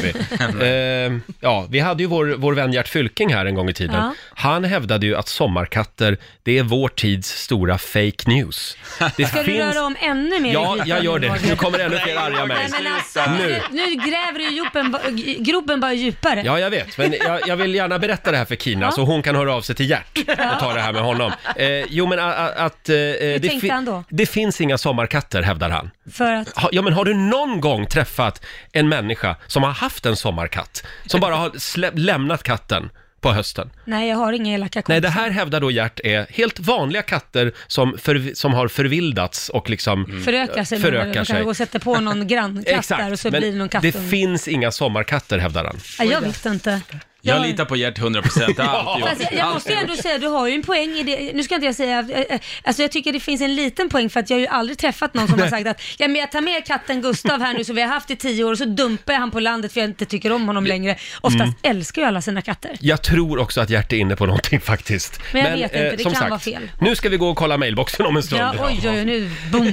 S3: (laughs)
S1: vi. eh, ja, vi hade ju vår, vår vän Gert Fylking här en gång i tiden.
S3: Ja.
S1: Han hävdade ju att sommarkatter, det är vår tids stora fake news. Det
S2: Ska du röra om ännu mer i
S1: Ja,
S2: skiten,
S1: jag gör det.
S2: Roger?
S1: Nu kommer ännu fler arga män.
S2: Nej, men alltså,
S1: Nu.
S2: nu. nu gräver du gropen, ba- g- gropen bara djupare.
S1: Ja, jag vet. Men jag, jag vill gärna berätta det här för Kina så hon kan höra av sig till Gert och ta det här med honom. Eh, jo, men a- a- att... eh, det,
S2: tänkte han då?
S1: det finns inga sommarkatter, hävdar han.
S2: För att...
S1: Ha, ja, men har du någon gång träffat en människa som har haft en sommarkatt? Som bara har slä- lämnat katten på hösten?
S2: Nej, jag har inga elaka kompisar.
S1: Nej, det här hävdar då Gert är helt vanliga katter som, för, som har förvildats och liksom
S2: Mm. Förökar sig. menar du?
S1: Förökar
S2: Man kan
S1: sig.
S2: gå och sätta på någon grannkatt där och så
S1: men
S2: blir det någon kattunge.
S1: det finns inga sommarkatter hävdar han.
S2: Ja, jag vet inte.
S10: Jag litar på Gert 100%. Allt
S2: Fast jag, jag måste ju ändå säga, du har ju en poäng i det. Nu ska inte jag säga, eh, eh, alltså jag tycker det finns en liten poäng för att jag har ju aldrig träffat någon som har sagt att ja, men jag tar med katten Gustav här nu som vi har haft i tio år och så dumpar jag han på landet för jag inte tycker om honom längre. Oftast
S1: Mm.
S2: älskar ju alla sina katter.
S1: Jag tror också att Gert är inne på någonting faktiskt. eh,
S2: Men jag vet inte, det
S1: som
S2: kan vara fel.
S1: Nu ska vi gå och kolla mailboxen om en stund.
S2: Ja, oj, oj, oj, nu
S1: (laughs)
S2: boom.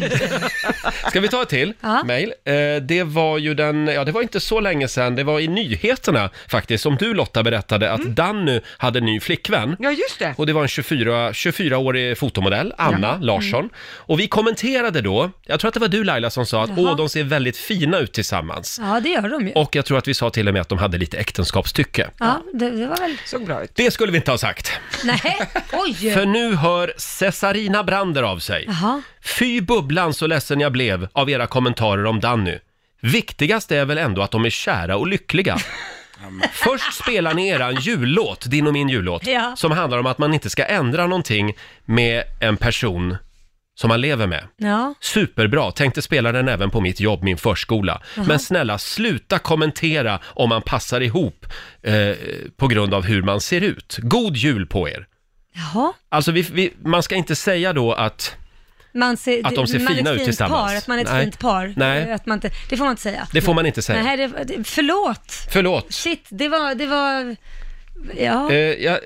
S1: Ska vi ta ett till
S2: Ja.
S1: mail? Eh, det var ju den, ja det var inte så länge sedan, det var i nyheterna faktiskt, som du Lotta berättade att Danny hade en ny flickvän.
S3: Mm. Ja, just det.
S1: Och det var en 24, 24-årig fotomodell, Anna
S3: Ja.
S1: Larsson.
S3: Mm.
S1: Och vi kommenterade då, jag tror att det var du Laila som sa att
S2: Jaha.
S1: åh, de ser väldigt fina ut tillsammans.
S2: Ja, det gör de ju.
S1: Och jag tror att vi sa till och med att de hade lite äktenskapstycke.
S2: Ja, det, det var väl...
S3: Såg bra ut.
S1: Det skulle vi inte ha sagt.
S2: Nej,
S1: (laughs)
S2: oj.
S1: För nu hör Cesarina Brander av sig.
S2: Jaha.
S1: Fy bubblan så ledsen jag blev av era kommentarer om Danny. Viktigast är väl ändå att de är kära och lyckliga. Först spelar ni eran jullåt, din och min jullåt,
S2: Ja.
S1: som handlar om att man inte ska ändra någonting med en person som man lever med.
S2: Ja.
S1: Superbra, tänkte spela den även på mitt jobb, min förskola.
S2: Jaha.
S1: Men snälla, sluta kommentera om man passar ihop eh, på grund av hur man ser ut. God jul på er!
S2: Jaha.
S1: Alltså, vi, vi, man ska inte säga då att...
S2: Man ser,
S1: Att de ser
S2: man är ett
S1: fina ut
S2: fint
S1: tillsammans.
S2: Par, att man är ett
S1: Nej.
S2: fint par.
S1: Nej.
S2: Att man inte, det får man inte säga.
S1: Det får man inte säga.
S2: Nej, det, det- förlåt.
S1: Förlåt.
S2: Shit, det var, det var, ja.
S1: Eh, jag,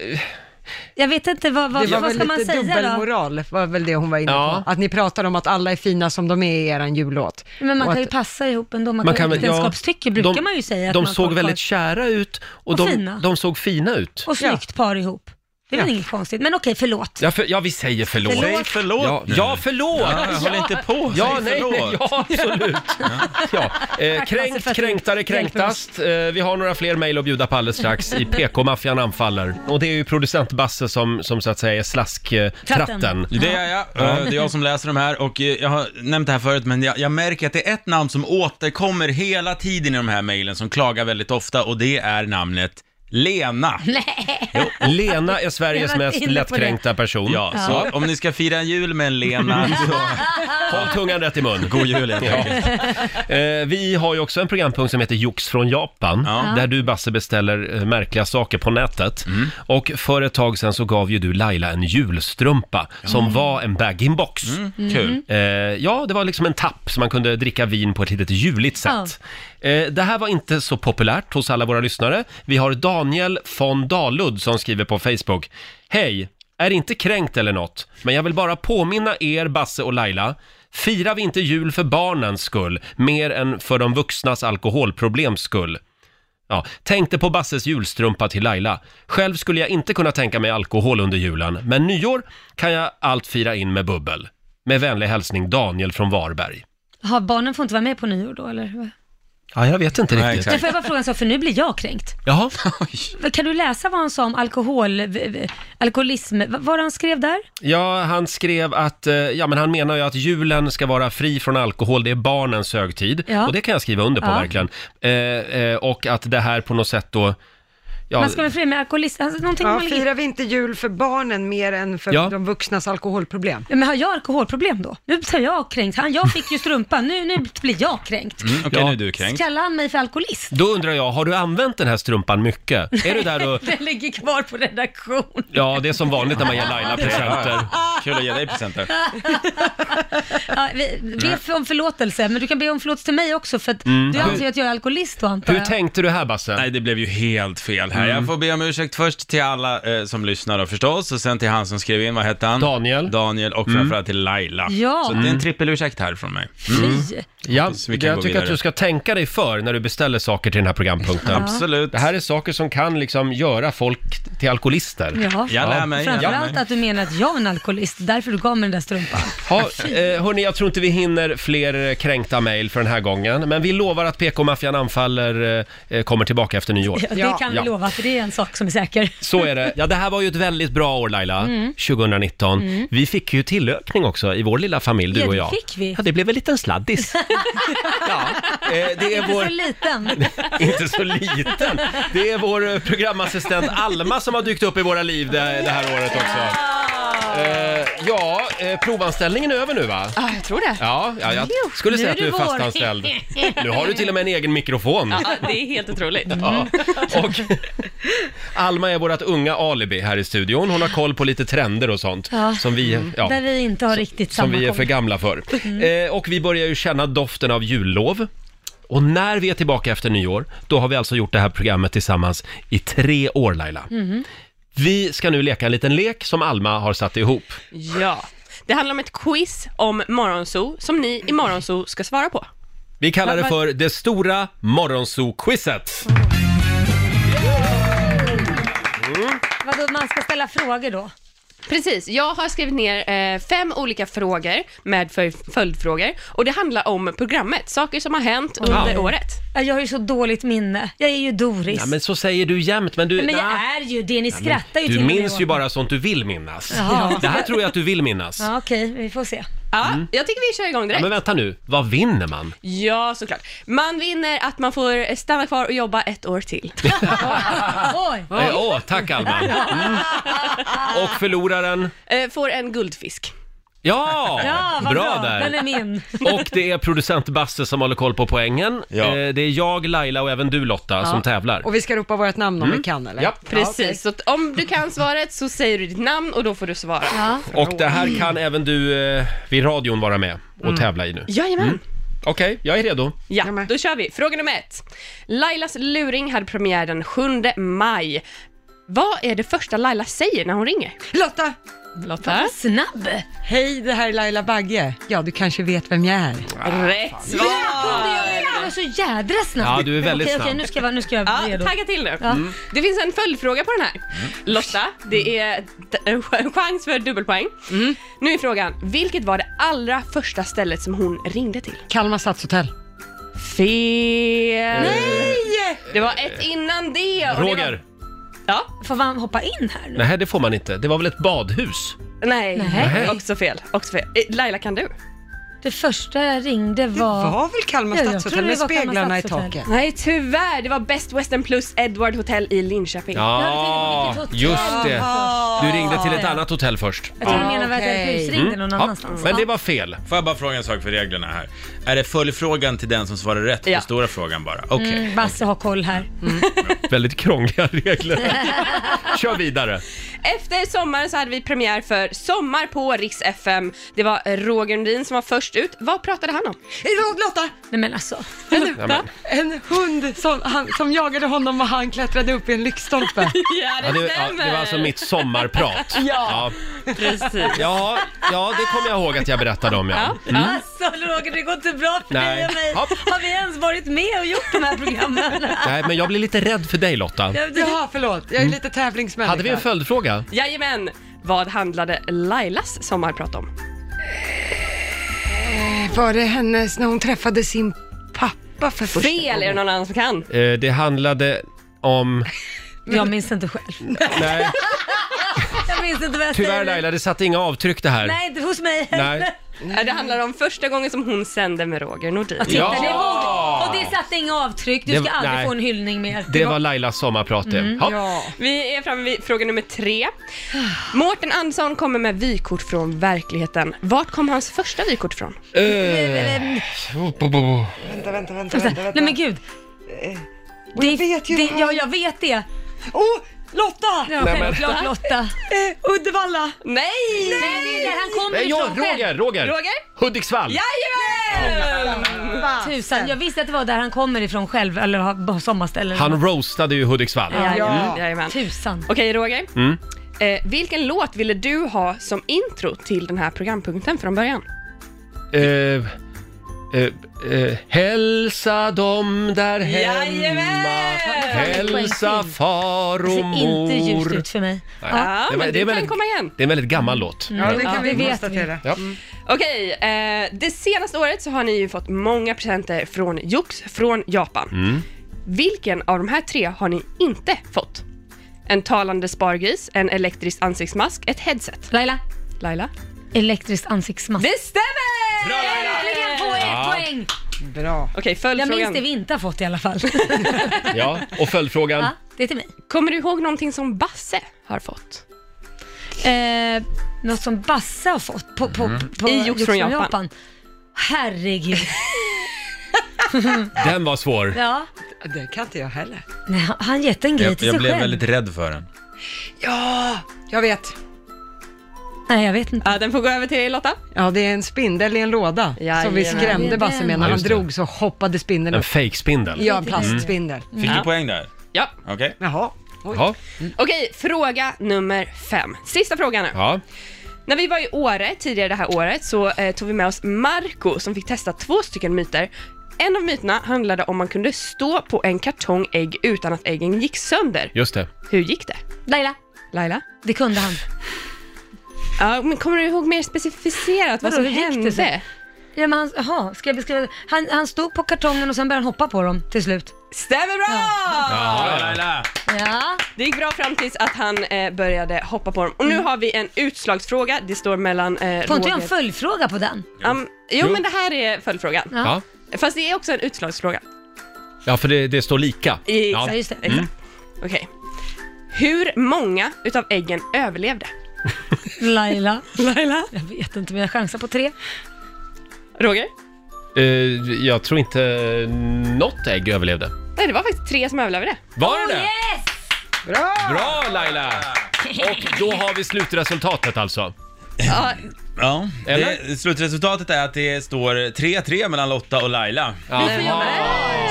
S2: Jag vet inte, vad, vad,
S3: det var
S2: vad
S3: väl
S2: ska man
S3: lite
S2: säga då?
S3: dubbelmoral, var väl det hon var inne
S1: Ja.
S3: på. Att ni pratade om att alla är fina som de är i eran jullåt.
S2: Men man
S3: Och
S2: kan ju
S3: att-
S2: passa ihop ändå. Man,
S1: Man
S2: kan
S1: kan
S2: ju
S1: väl- ja,
S2: äktenskapstycke brukar
S1: de-
S2: man ju säga. att
S1: de
S2: man
S1: såg
S2: kan-
S1: väldigt kära ut och,
S2: Och
S1: de,
S2: fina.
S1: de såg fina ut.
S2: Och snyggt par ihop. Det är väl inget konstigt. Men okej, förlåt.
S1: Ja, för, ja, vi säger förlåt.
S2: Förlåt.
S1: Säg förlåt ja, ja, förlåt!
S2: Ja, håll inte på,
S1: Ja,
S2: säg
S1: nej, nej,
S2: förlåt. (laughs)
S1: ja absolut. Ja. Eh,
S2: Tack, Lasse, för
S1: kränkt,
S2: att du
S1: kränktare,
S2: hjälper
S1: kränktast. Eh, vi har några fler mejl att bjuda på alldeles strax
S2: (laughs)
S1: i PK-maffian anfaller. Och det är ju producent Basse som, som så att säga är slasktratten.
S10: Det är jag. Eh, Det är jag som läser de här och eh, jag har nämnt det här förut men jag, jag märker att det är ett namn som återkommer hela tiden i de här mejlen som klagar väldigt ofta och det är namnet
S1: (laughs)
S10: Lena.
S1: Lena är Sveriges
S10: Jag var
S1: mest
S10: inne på det.
S1: lättkränkta person.
S10: Ja, så om ni ska fira en jul med en Lena så...
S1: Håll tungan rätt i mun.
S10: God jul helt enkelt.
S1: Eh, vi har ju också en programpunkt som heter Jox från Japan,
S10: Ja. Mm.
S1: där du Basse beställer eh, märkliga saker på nätet. Och för ett tag sedan så gav ju du Laila en julstrumpa som var en bag-in-box.
S10: Mm. Kul.
S1: Eh, ja, det var liksom en tapp som man kunde dricka vin på ett litet juligt sätt. Eh, det här var inte så populärt hos alla våra lyssnare. Vi har Daniel von Dalud som skriver på Facebook. Hej! Är inte kränkt eller något, men jag vill bara påminna er, Basse och Laila. Firar vi inte jul för barnens skull, mer än för de vuxnas alkoholproblems skull? Ja, tänkte på Basses julstrumpa till Laila. Själv skulle jag inte kunna tänka mig alkohol under julen, men nyår kan jag allt fira in med bubbel. Med vänlig hälsning Daniel från Varberg.
S2: Jaha, barnen får inte vara med på nyår då eller?
S1: Ja, jag vet inte riktigt.
S2: Därför jag bara fråga en sak, för nu blir jag kränkt.
S1: Jaha.
S2: Kan du läsa vad han sa om alkohol, v- v- alkoholism, vad var det han skrev där?
S1: Ja, han skrev att, eh, ja men han menar ju att julen ska vara fri från alkohol, det är barnens högtid.
S2: Ja.
S1: Och det kan jag skriva under på
S2: Ja.
S1: verkligen. Eh, eh, och att det här på något sätt då, ja,
S2: Man ska väl fria med alkoholism, alltså, någonting
S3: Ja,
S2: om allergi.
S3: firar vi inte jul för barnen mer än för
S1: Ja.
S3: de vuxnas alkoholproblem?
S2: Ja, Men har jag alkoholproblem då? Nu blir jag kränkt. Han, jag fick ju strumpan, nu, nu blir jag kränkt.
S1: Mm, okej, nu är du kränkt.
S2: Kallar han mig för alkoholist?
S1: då undrar jag, har du använt den här strumpan
S2: (laughs)
S1: mycket? Är du där och
S2: Den ligger kvar på redaktion.
S1: Ja, det är som vanligt när man ger Laila presenter.
S10: Kul att ge dig presenter.
S2: (laughs) ja, vi, be om förlåtelse, men du kan be om förlåtelse till mig också för att
S10: Mm.
S2: du anser ju att jag är alkoholist då antar
S10: Hur
S2: jag.
S1: tänkte du här Basse?
S10: Nej, det blev ju helt fel här.
S1: Mm.
S10: Jag får be om ursäkt först till alla eh, som lyssnar då förstås och sen till han som skrev in, vad hette han? Daniel. Daniel och framförallt till Laila.
S2: Ja.
S10: Så det är
S1: Mm.
S10: en trippelursäkt här från mig.
S2: Fy.
S1: Ja,
S10: Mm. Hoppas vi kan
S1: jag
S10: gå
S1: tycker att
S10: vidare.
S1: du ska tänka dig för när du beställer saker till den här programpunkten.
S10: Ja. Absolut.
S1: Det här är saker som kan liksom göra folk till alkoholister.
S2: Ja, framförallt att du menar att jag är en alkoholist, därför du gav mig den
S1: (laughs)
S2: där strumpan.
S1: Ha, eh, hörni, jag tror inte vi hinner fler eh, kränkta mejl för den här gången, men vi lovar att PK-maffian anfaller eh, kommer tillbaka efter nyår.
S2: Ja, det kan
S1: Ja.
S2: vi lova, för det är en sak som är säker.
S1: Så är det. Ja, det här var ju ett väldigt bra år Laila,
S2: Mm.
S1: 2019.
S2: Mm.
S1: Vi fick ju tillökning också i vår lilla familj, du
S2: Ja,
S1: och
S2: det
S1: jag.
S2: fick vi.
S1: Ja, det blev en liten
S2: (laughs)
S1: sladdis. det är
S2: Inte
S1: vår-
S2: så liten.
S1: (laughs) Inte så
S2: (laughs)
S1: liten. Det är vår eh, programassistent Alma som har dykt upp i våra liv det, det här året också. Eh, ja, eh, provanställningen är över nu va?
S17: Ja, jag tror det.
S1: Ja, ja jag
S17: Jo,
S1: skulle
S17: nu
S1: säga
S17: är
S1: att du
S17: du
S1: är
S17: vår.
S1: fastanställd. Nu har du till och med en egen mikrofon.
S17: Ja, det är helt otroligt.
S1: Ja. Och Alma är vårt unga alibi här i studion. Hon har koll på lite trender och sånt
S2: Ja.
S1: som
S17: Mm.
S1: vi, ja,
S2: Där vi inte har riktigt
S1: som
S2: samma
S1: vi är för
S2: koll.
S1: gamla för.
S2: Mm.
S1: Eh, och vi börjar ju känna doften av jullov. Och när vi är tillbaka efter nyår, då har vi alltså gjort det här programmet tillsammans i tre år Laila.
S17: Mhm.
S1: Vi ska nu leka en liten lek som Alma har satt ihop.
S17: Ja. Det handlar om ett quiz om morgonso som ni i morgonso ska svara på.
S1: Vi kallar det
S17: Vad- vad-
S1: för Det stora morgonzoo-quizet.
S2: Vadå, man ska ställa frågor då?
S17: Precis, jag har skrivit ner eh, fem olika frågor med för- följdfrågor och det handlar om programmet, saker som har hänt under
S2: Wow.
S17: året.
S2: Ja, Jag har ju så dåligt minne. Jag är ju Doris.
S1: Ja, men så säger du jämt, men du...
S2: men jag
S1: Nej.
S2: är ju det, ni skrattar ju
S1: Du
S2: till mig
S1: minns
S2: åt
S1: ju
S2: det.
S1: bara sånt du vill minnas.
S2: Ja.
S1: Det här tror jag att du vill minnas.
S2: Ja, okej, vi får se.
S17: Ja, jag tycker vi kör igång
S1: Ja,
S17: direkt.
S1: men vänta nu, vad vinner man?
S17: Ja, såklart. Man vinner att man får stanna kvar och jobba ett år till.
S2: Oj!
S1: Åh, eh, åh, tack
S2: (laughs)
S1: Alma. Mm. Och förloraren?
S17: Eh, Får en guldfisk.
S1: Ja, bra, där.
S2: min.
S1: (laughs) Och det är producent Basse som håller koll på poängen. Eh, Det är jag, Laila och även du Lotta som tävlar.
S3: Och vi ska ropa vårt namn om
S1: Mm.
S3: vi kan eller?
S1: Ja.
S17: Precis, så att om du kan svaret så säger du ditt namn och då får du svara. Ja.
S1: Och det här kan även du eh, vid radion vara med och tävla i nu.
S17: Mm.
S1: Mm.
S17: Jajamän.
S1: Okej, jag är redo.
S17: Ja, då kör vi. Fråga nummer ett. Lailas luring hade premiär den 7 maj. Vad är det första Laila säger när hon ringer?
S3: Lotta!
S17: Lotta?
S2: Snabb!
S3: Hej, det här är Laila Bagge. Ja, du kanske vet vem jag är.
S17: Rätt svar! Ah.
S2: Jag är så jädra snabb.
S3: Ja, du är väldigt
S2: okej, Okej,
S3: snabb.
S2: nu ska jag, vara- nu ska jag vara
S17: Ja,
S2: redo.
S17: tagga till nu.
S2: Ja. Mm.
S17: Det finns en följdfråga på den här. Lotta, det är d- en ch- en chans för dubbelpoäng.
S2: Mm.
S17: Nu är frågan, vilket var det allra första stället som hon ringde till?
S3: Kalmar stadshotell.
S17: Fel!
S15: Eh.
S17: Det var ett innan det. och det
S1: Roger.
S17: Var... Ja?
S2: Får man hoppa in här?
S1: Nej, det får man inte. Det var väl ett badhus?
S17: Nej,
S1: Nej.
S17: också fel. Också fel. Eh, Laila, kan du?
S2: Det första jag ringde var...
S3: Det var väl Kalmar
S2: Ja, jag trodde
S3: stadshotell
S2: det
S3: med
S2: var Kalmar
S3: speglarna i
S2: stadshotell.
S3: taket.
S17: Nej, tyvärr. Det var Best Western plus Edward Hotel i Linköping.
S1: Ja, just det. Du ringde till ett annat hotell först. Mm.
S2: Jag tror du menar att jag husringde någon
S1: Ja,
S2: annanstans.
S1: men det var fel.
S10: Får jag bara fråga en sak för reglerna här? Är det följdfrågan till den som svarar rätt
S2: Ja.
S10: på stora frågan bara? Okej.
S2: Mm, Basse har koll här.
S1: (laughs) Väldigt krångliga
S2: (laughs)
S1: regler. Kör vidare.
S17: Efter sommaren så hade vi premiär för Sommar på Riks FM. Det var Roger Nordin som var först ut. Vad pratade han om?
S3: Lotta!
S2: Nej men alltså. (laughs)
S1: Ja,
S3: En hund som, han, som jagade honom och han klättrade upp i en lyktstolpe.
S17: ja,
S1: det, ja, det var alltså mitt
S17: (laughs)
S1: sommarprat.
S3: Ja,
S17: precis.
S1: Ja, ja, det kommer jag ihåg att jag berättade om. Ja. Mm.
S2: Alltså Roger, det går inte bra för
S1: Nej.
S2: dig och mig. Har vi ens varit med och gjort de här
S1: (laughs)
S2: programmen?
S1: Nej, men jag blir lite rädd för dig Lotta.
S3: Jaha, förlåt. Jag
S2: Mm.
S3: är lite tävlingsmänniska.
S1: Hade vi en följdfråga?
S17: Jajamän. Vad handlade Lailas sommarprat om?
S3: Eh, Var det hennes när hon träffade sin pappa för första
S17: Fel är det
S3: gången?
S17: någon annan som kan.
S1: Eh, Det handlade om...
S2: Jag minns inte själv.
S1: Nej,
S2: Jag minns inte vad jag
S1: tyvärr
S2: säger.
S1: Laila, det satte inga avtryck det här.
S2: Nej, inte hos mig
S1: Nej.
S17: Nej, Det handlar om första gången som hon sände med Roger Nordin.
S1: Ja!
S2: Det var- Och det satte inga avtryck. Du
S1: Det
S2: ska
S1: var-
S2: aldrig
S1: nej.
S2: få en hyllning mer.
S1: Det var Lailas sommarprat det.
S17: Mm.
S1: Ja.
S17: Vi är framme vid fråga nummer tre. Mårten Andersson kommer med vykort från verkligheten. Vart kom hans första vykort från?
S1: Eh,
S3: Vänta, vänta, vänta, vänta, vänta.
S2: Nej men gud. Alltså, Det,
S3: jag vet ju
S2: det,
S3: vad-
S2: ja, jag vet det.
S3: Oh,
S2: Lotta! Ja,
S1: Nej, men-
S2: självklart Lotta.
S3: Eh,
S12: Uddevalla.
S17: Nej!
S2: Nej, det är det. Han kommer
S1: Nej,
S2: ju
S1: jag,
S2: från själv.
S1: Roger, Roger! Hudiksvall!
S2: Jajamän! Tusan, jag visste att det var där han kommer ifrån själv, eller har sommarställe. eller
S1: Han
S2: något.
S1: roastade ju Hudiksvall.
S17: Ja.
S1: Mm.
S17: Jajamän.
S2: Tusan.
S17: Okej Roger,
S1: Mm.
S17: eh, vilken låt ville du ha som intro till den här programpunkten från början?
S1: Eh, eh, eh, hälsa dem där hemma, hälsa far
S2: Det
S1: och
S2: ser inte ljust
S1: mor.
S2: ut för mig. Mm.
S1: Nej,
S17: Ja,
S1: det var-
S17: men
S1: det är
S17: du kan
S1: väldigt-
S17: komma igen.
S1: Det är en väldigt gammal låt.
S17: Ja, det kan vi
S3: konstatera.
S1: Ja.
S17: Okej, eh, det senaste året så har ni ju fått många presenter från Jux från Japan.
S1: Mm.
S17: Vilken av de här tre har ni inte fått? En talande spargris, en elektrisk ansiktsmask, ett headset.
S2: Laila.
S17: Laila.
S2: Elektrisk ansiktsmask.
S17: Det stämmer!
S2: Bra Äntligen får jag
S1: Ja.
S2: ett poäng!
S3: Bra.
S17: Okej,
S2: Jag
S17: följdfrågan.
S2: minns det vi inte har fått i alla fall.
S1: Ja, och följdfrågan.
S2: Ja, det är till mig.
S17: Kommer du ihåg någonting som Basse har fått?
S2: Eh, något som Basse har fått på, på,
S1: Mm.
S2: på
S17: I Jox från Japan. (laughs)
S2: Herregud. (laughs)
S1: Den var svår.
S2: ja.
S3: Det kan inte jag heller.
S2: Nej, han- han gett en grej
S10: Jag,
S2: till
S10: jag
S2: sig
S10: blev
S2: själv.
S10: väldigt rädd för den.
S3: Ja, jag vet.
S2: Nej, jag vet inte.
S17: Ja, den får gå över till Lotta.
S3: Ja, det är en spindel i en låda som vi
S17: Jajamän.
S3: skrämde Basse med.
S10: Ja,
S3: När han
S10: just det.
S3: drog så hoppade spindeln
S1: En
S3: upp.
S1: fejkspindel.
S3: Ja, en plastspindel.
S10: Fick du poäng där?
S17: Ja.
S10: Okej.
S3: Jaha.
S1: Ja.
S17: Mm. Okej, fråga nummer fem. Sista frågan nu.
S1: ja.
S17: När vi var i Åre tidigare det här året så eh, tog vi med oss Marco som fick testa två stycken myter. En av myterna handlade om man kunde stå på en kartong ägg utan att äggen gick sönder.
S1: Just det.
S17: Hur gick det?
S2: Laila,
S17: Laila?
S2: det kunde han.
S17: Ja, men kommer du ihåg mer specificerat vad
S2: Vadå,
S17: som
S2: hur gick det
S17: hände?
S2: sen? Ja, men han, aha, ska jag beskriva det? Han, han stod på kartongen och sen började han hoppa på dem till slut.
S17: Stämmer bra!
S10: Ja, Laila.
S2: Ja.
S17: Ah! Det gick bra fram tills att han eh, började hoppa på dem. Och nu har vi en utslagsfråga. Det står mellan eh,
S2: Mm. Får inte jag en
S17: Roger...
S2: följdfråga på den?
S17: Um, jo,
S1: Jo.
S17: men det här är följdfrågan.
S1: Ja.
S17: Fast det är också en utslagsfråga.
S1: Ja, för det, det står lika. Mm.
S17: Exakt.
S2: just det.
S17: Exakt. Okej. Hur många utav äggen överlevde?
S2: (laughs) Laila.
S17: Laila?
S2: Jag vet inte, men jag chansar på tre.
S17: Roger?
S1: Eh, jag tror inte något ägg överlevde.
S17: Nej, det var faktiskt tre som överlevde.
S1: Var det det?
S2: Yes! (laughs)
S3: Bra!
S1: Bra Laila! Och då har vi slutresultatet alltså.
S17: Ja,
S10: Ja,
S1: Eller?
S10: det, slutresultatet är att det står 3-3 mellan Lotta och Laila.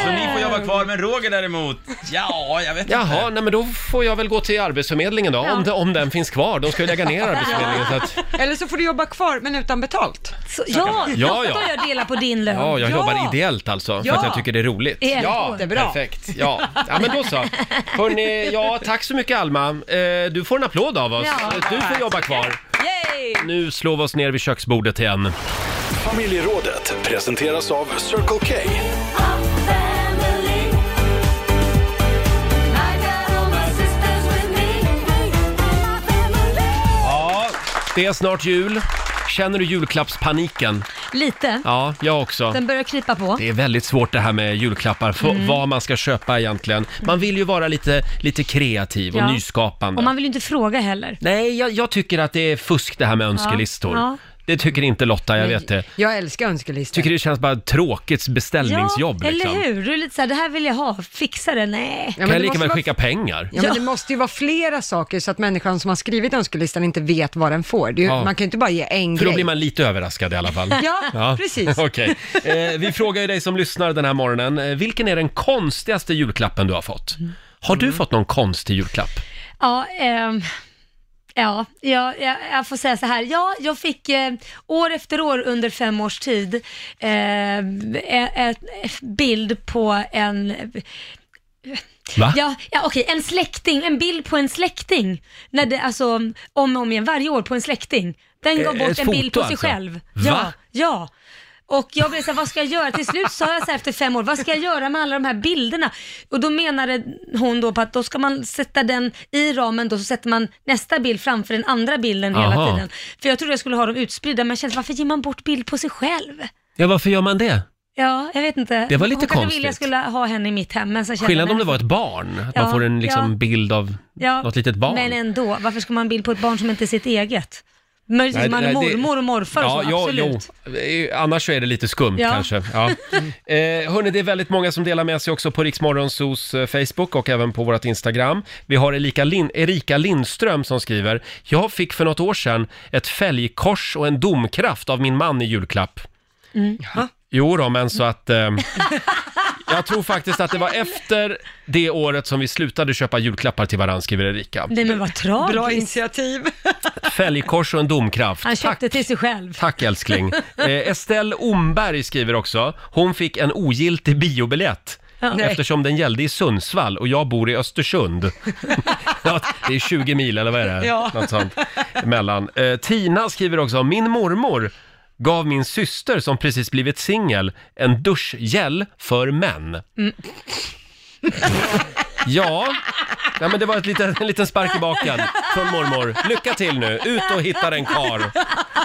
S10: Så ni får jobba kvar, men Roger däremot, ja, jag vet inte.
S1: Jaha, nej men då får jag väl gå till Arbetsförmedlingen då, om, de, om den finns kvar. De ska ju lägga ner Arbetsförmedlingen så att,
S3: (laughs) Eller så får du jobba kvar men utan betalt.
S2: Så, ja,
S1: vi. Ja,
S2: ja,
S1: ja.
S2: ja. jag delar på din lön.
S1: ja, jag
S3: Ja.
S1: jobbar ideellt alltså, för
S3: Ja.
S1: att jag tycker det är roligt.
S2: Är det
S1: Ja,
S2: så?
S1: det
S3: Det
S1: är
S3: är bra.
S1: perfekt. Ja. ja, men då så. Hörrni, ja, tack så mycket Alma. Eh, du får en applåd av oss.
S2: Ja.
S1: Du får jobba kvar.
S17: Yay!
S1: Nu slår vi oss ner vid köksbordet igen.
S4: Familjerådet presenteras av Circle K.
S1: Ja, det är snart jul. Känner du julklappspaniken?
S2: Lite.
S1: Ja, jag också.
S2: Den börjar krypa på.
S1: Det är väldigt svårt det här med julklappar, f-
S3: Mm.
S1: vad man ska köpa egentligen. Man vill ju vara lite, lite kreativ och
S2: Ja.
S1: nyskapande.
S2: Och man vill ju inte fråga heller.
S1: Nej, jag, jag tycker att det är fusk det här med önskelistor.
S2: Ja.
S1: Det tycker inte Lotta, jag vet det.
S3: Jag älskar önskelistor.
S1: Tycker det känns bara tråkigt beställningsjobb
S2: ja,
S1: liksom.
S2: eller hur? Du är lite såhär, det här vill jag ha, fixa det, nej.
S3: Ja, men
S1: Kan jag
S3: det
S1: lika
S3: måste
S1: väl
S3: vara-
S1: skicka pengar?
S3: Ja, men det måste ju vara flera saker så att människan som har skrivit önskelistan inte vet vad den får. Det är ju,
S1: Ja.
S3: Man kan ju inte bara ge en
S1: För då
S3: grej.
S1: blir man lite överraskad i alla fall.
S3: (laughs) Ja,
S1: (laughs)
S3: precis.
S1: Okej. Eh, vi frågar ju dig som lyssnar den här morgonen, eh, vilken är den konstigaste julklappen du har fått?
S3: Mm.
S1: Har du fått någon konstig julklapp?
S2: Ja, ehm, ja, ja jag, jag får säga så här. Ja, jag fick eh, år efter år under fem års tid eh, en en bild på en
S1: Va?
S2: Ja, ja okej, en släkting, en bild på en släkting. När det, alltså, om och om igen, varje år på en släkting. Den gav
S1: Eh,
S2: bort
S1: ett
S2: en bild
S1: foto
S2: på sig
S1: alltså?
S2: själv.
S1: Va?
S2: Ja, ja. Och jag blev såhär, vad ska jag göra? Till slut sa jag så här efter fem år, vad ska jag göra med alla de här bilderna? Och då menade hon då på att då ska man sätta den i ramen då, så sätter man nästa bild framför den andra bilden
S1: Aha.
S2: hela tiden. För jag trodde jag skulle ha dem utspridda, men jag kände, varför ger man bort bild på sig själv?
S1: Ja, varför gör man det?
S2: Ja, jag vet inte.
S1: Det var lite
S2: hon kanske ville jag
S1: konstigt.
S2: skulle ha henne i mitt hem, men sen kände
S1: Skillnad
S2: jag-
S1: om det var ett barn, att man
S2: Ja,
S1: får en liksom
S2: ja.
S1: bild av
S2: Ja,
S1: något litet barn.
S2: Men ändå, varför ska man ha en bild på ett barn som inte är sitt eget? Möjligtvis
S1: Nej,
S2: man och
S1: nej, det-
S2: mormor och morfar och så, absolut.
S1: jo. Eh, Annars så är det lite skumt
S2: Ja.
S1: kanske.
S2: (laughs)
S1: Ja. Eh, hörni, det är väldigt många som delar med sig också på Riksmorgonsos eh, Facebook och även på vårt Instagram. Vi har Erika, Lin- Erika Lindström som skriver, jag fick för något år sedan ett fälgkors och en domkraft av min man i julklapp.
S2: Mm.
S1: Jo då, men så att...
S2: (laughs)
S1: Eh, jag tror faktiskt att det var efter det året som vi slutade köpa julklappar till varandra, skriver Erika.
S2: Nej men vad tragiskt.
S3: Bra initiativ.
S1: Ett Fälgkors och en domkraft.
S2: Han köpte till sig själv.
S1: Tack älskling. Eh, Estelle Omberg skriver också, hon fick en ogiltig biobiljett.
S2: Ja. Nej.
S1: Eftersom den gällde i Sundsvall och jag bor i
S2: (laughs)
S1: Östersund. Ja, det är 20 mil eller vad är det?
S4: Ja.
S1: Något sånt. Mellan. Eh, Tina skriver också, min mormor gav min syster som precis blivit singel en duschgel för män.
S4: Mm.
S1: Ja, ja men det var ett liten, en liten spark i baken från mormor. Lycka till nu, ut och hitta en kar.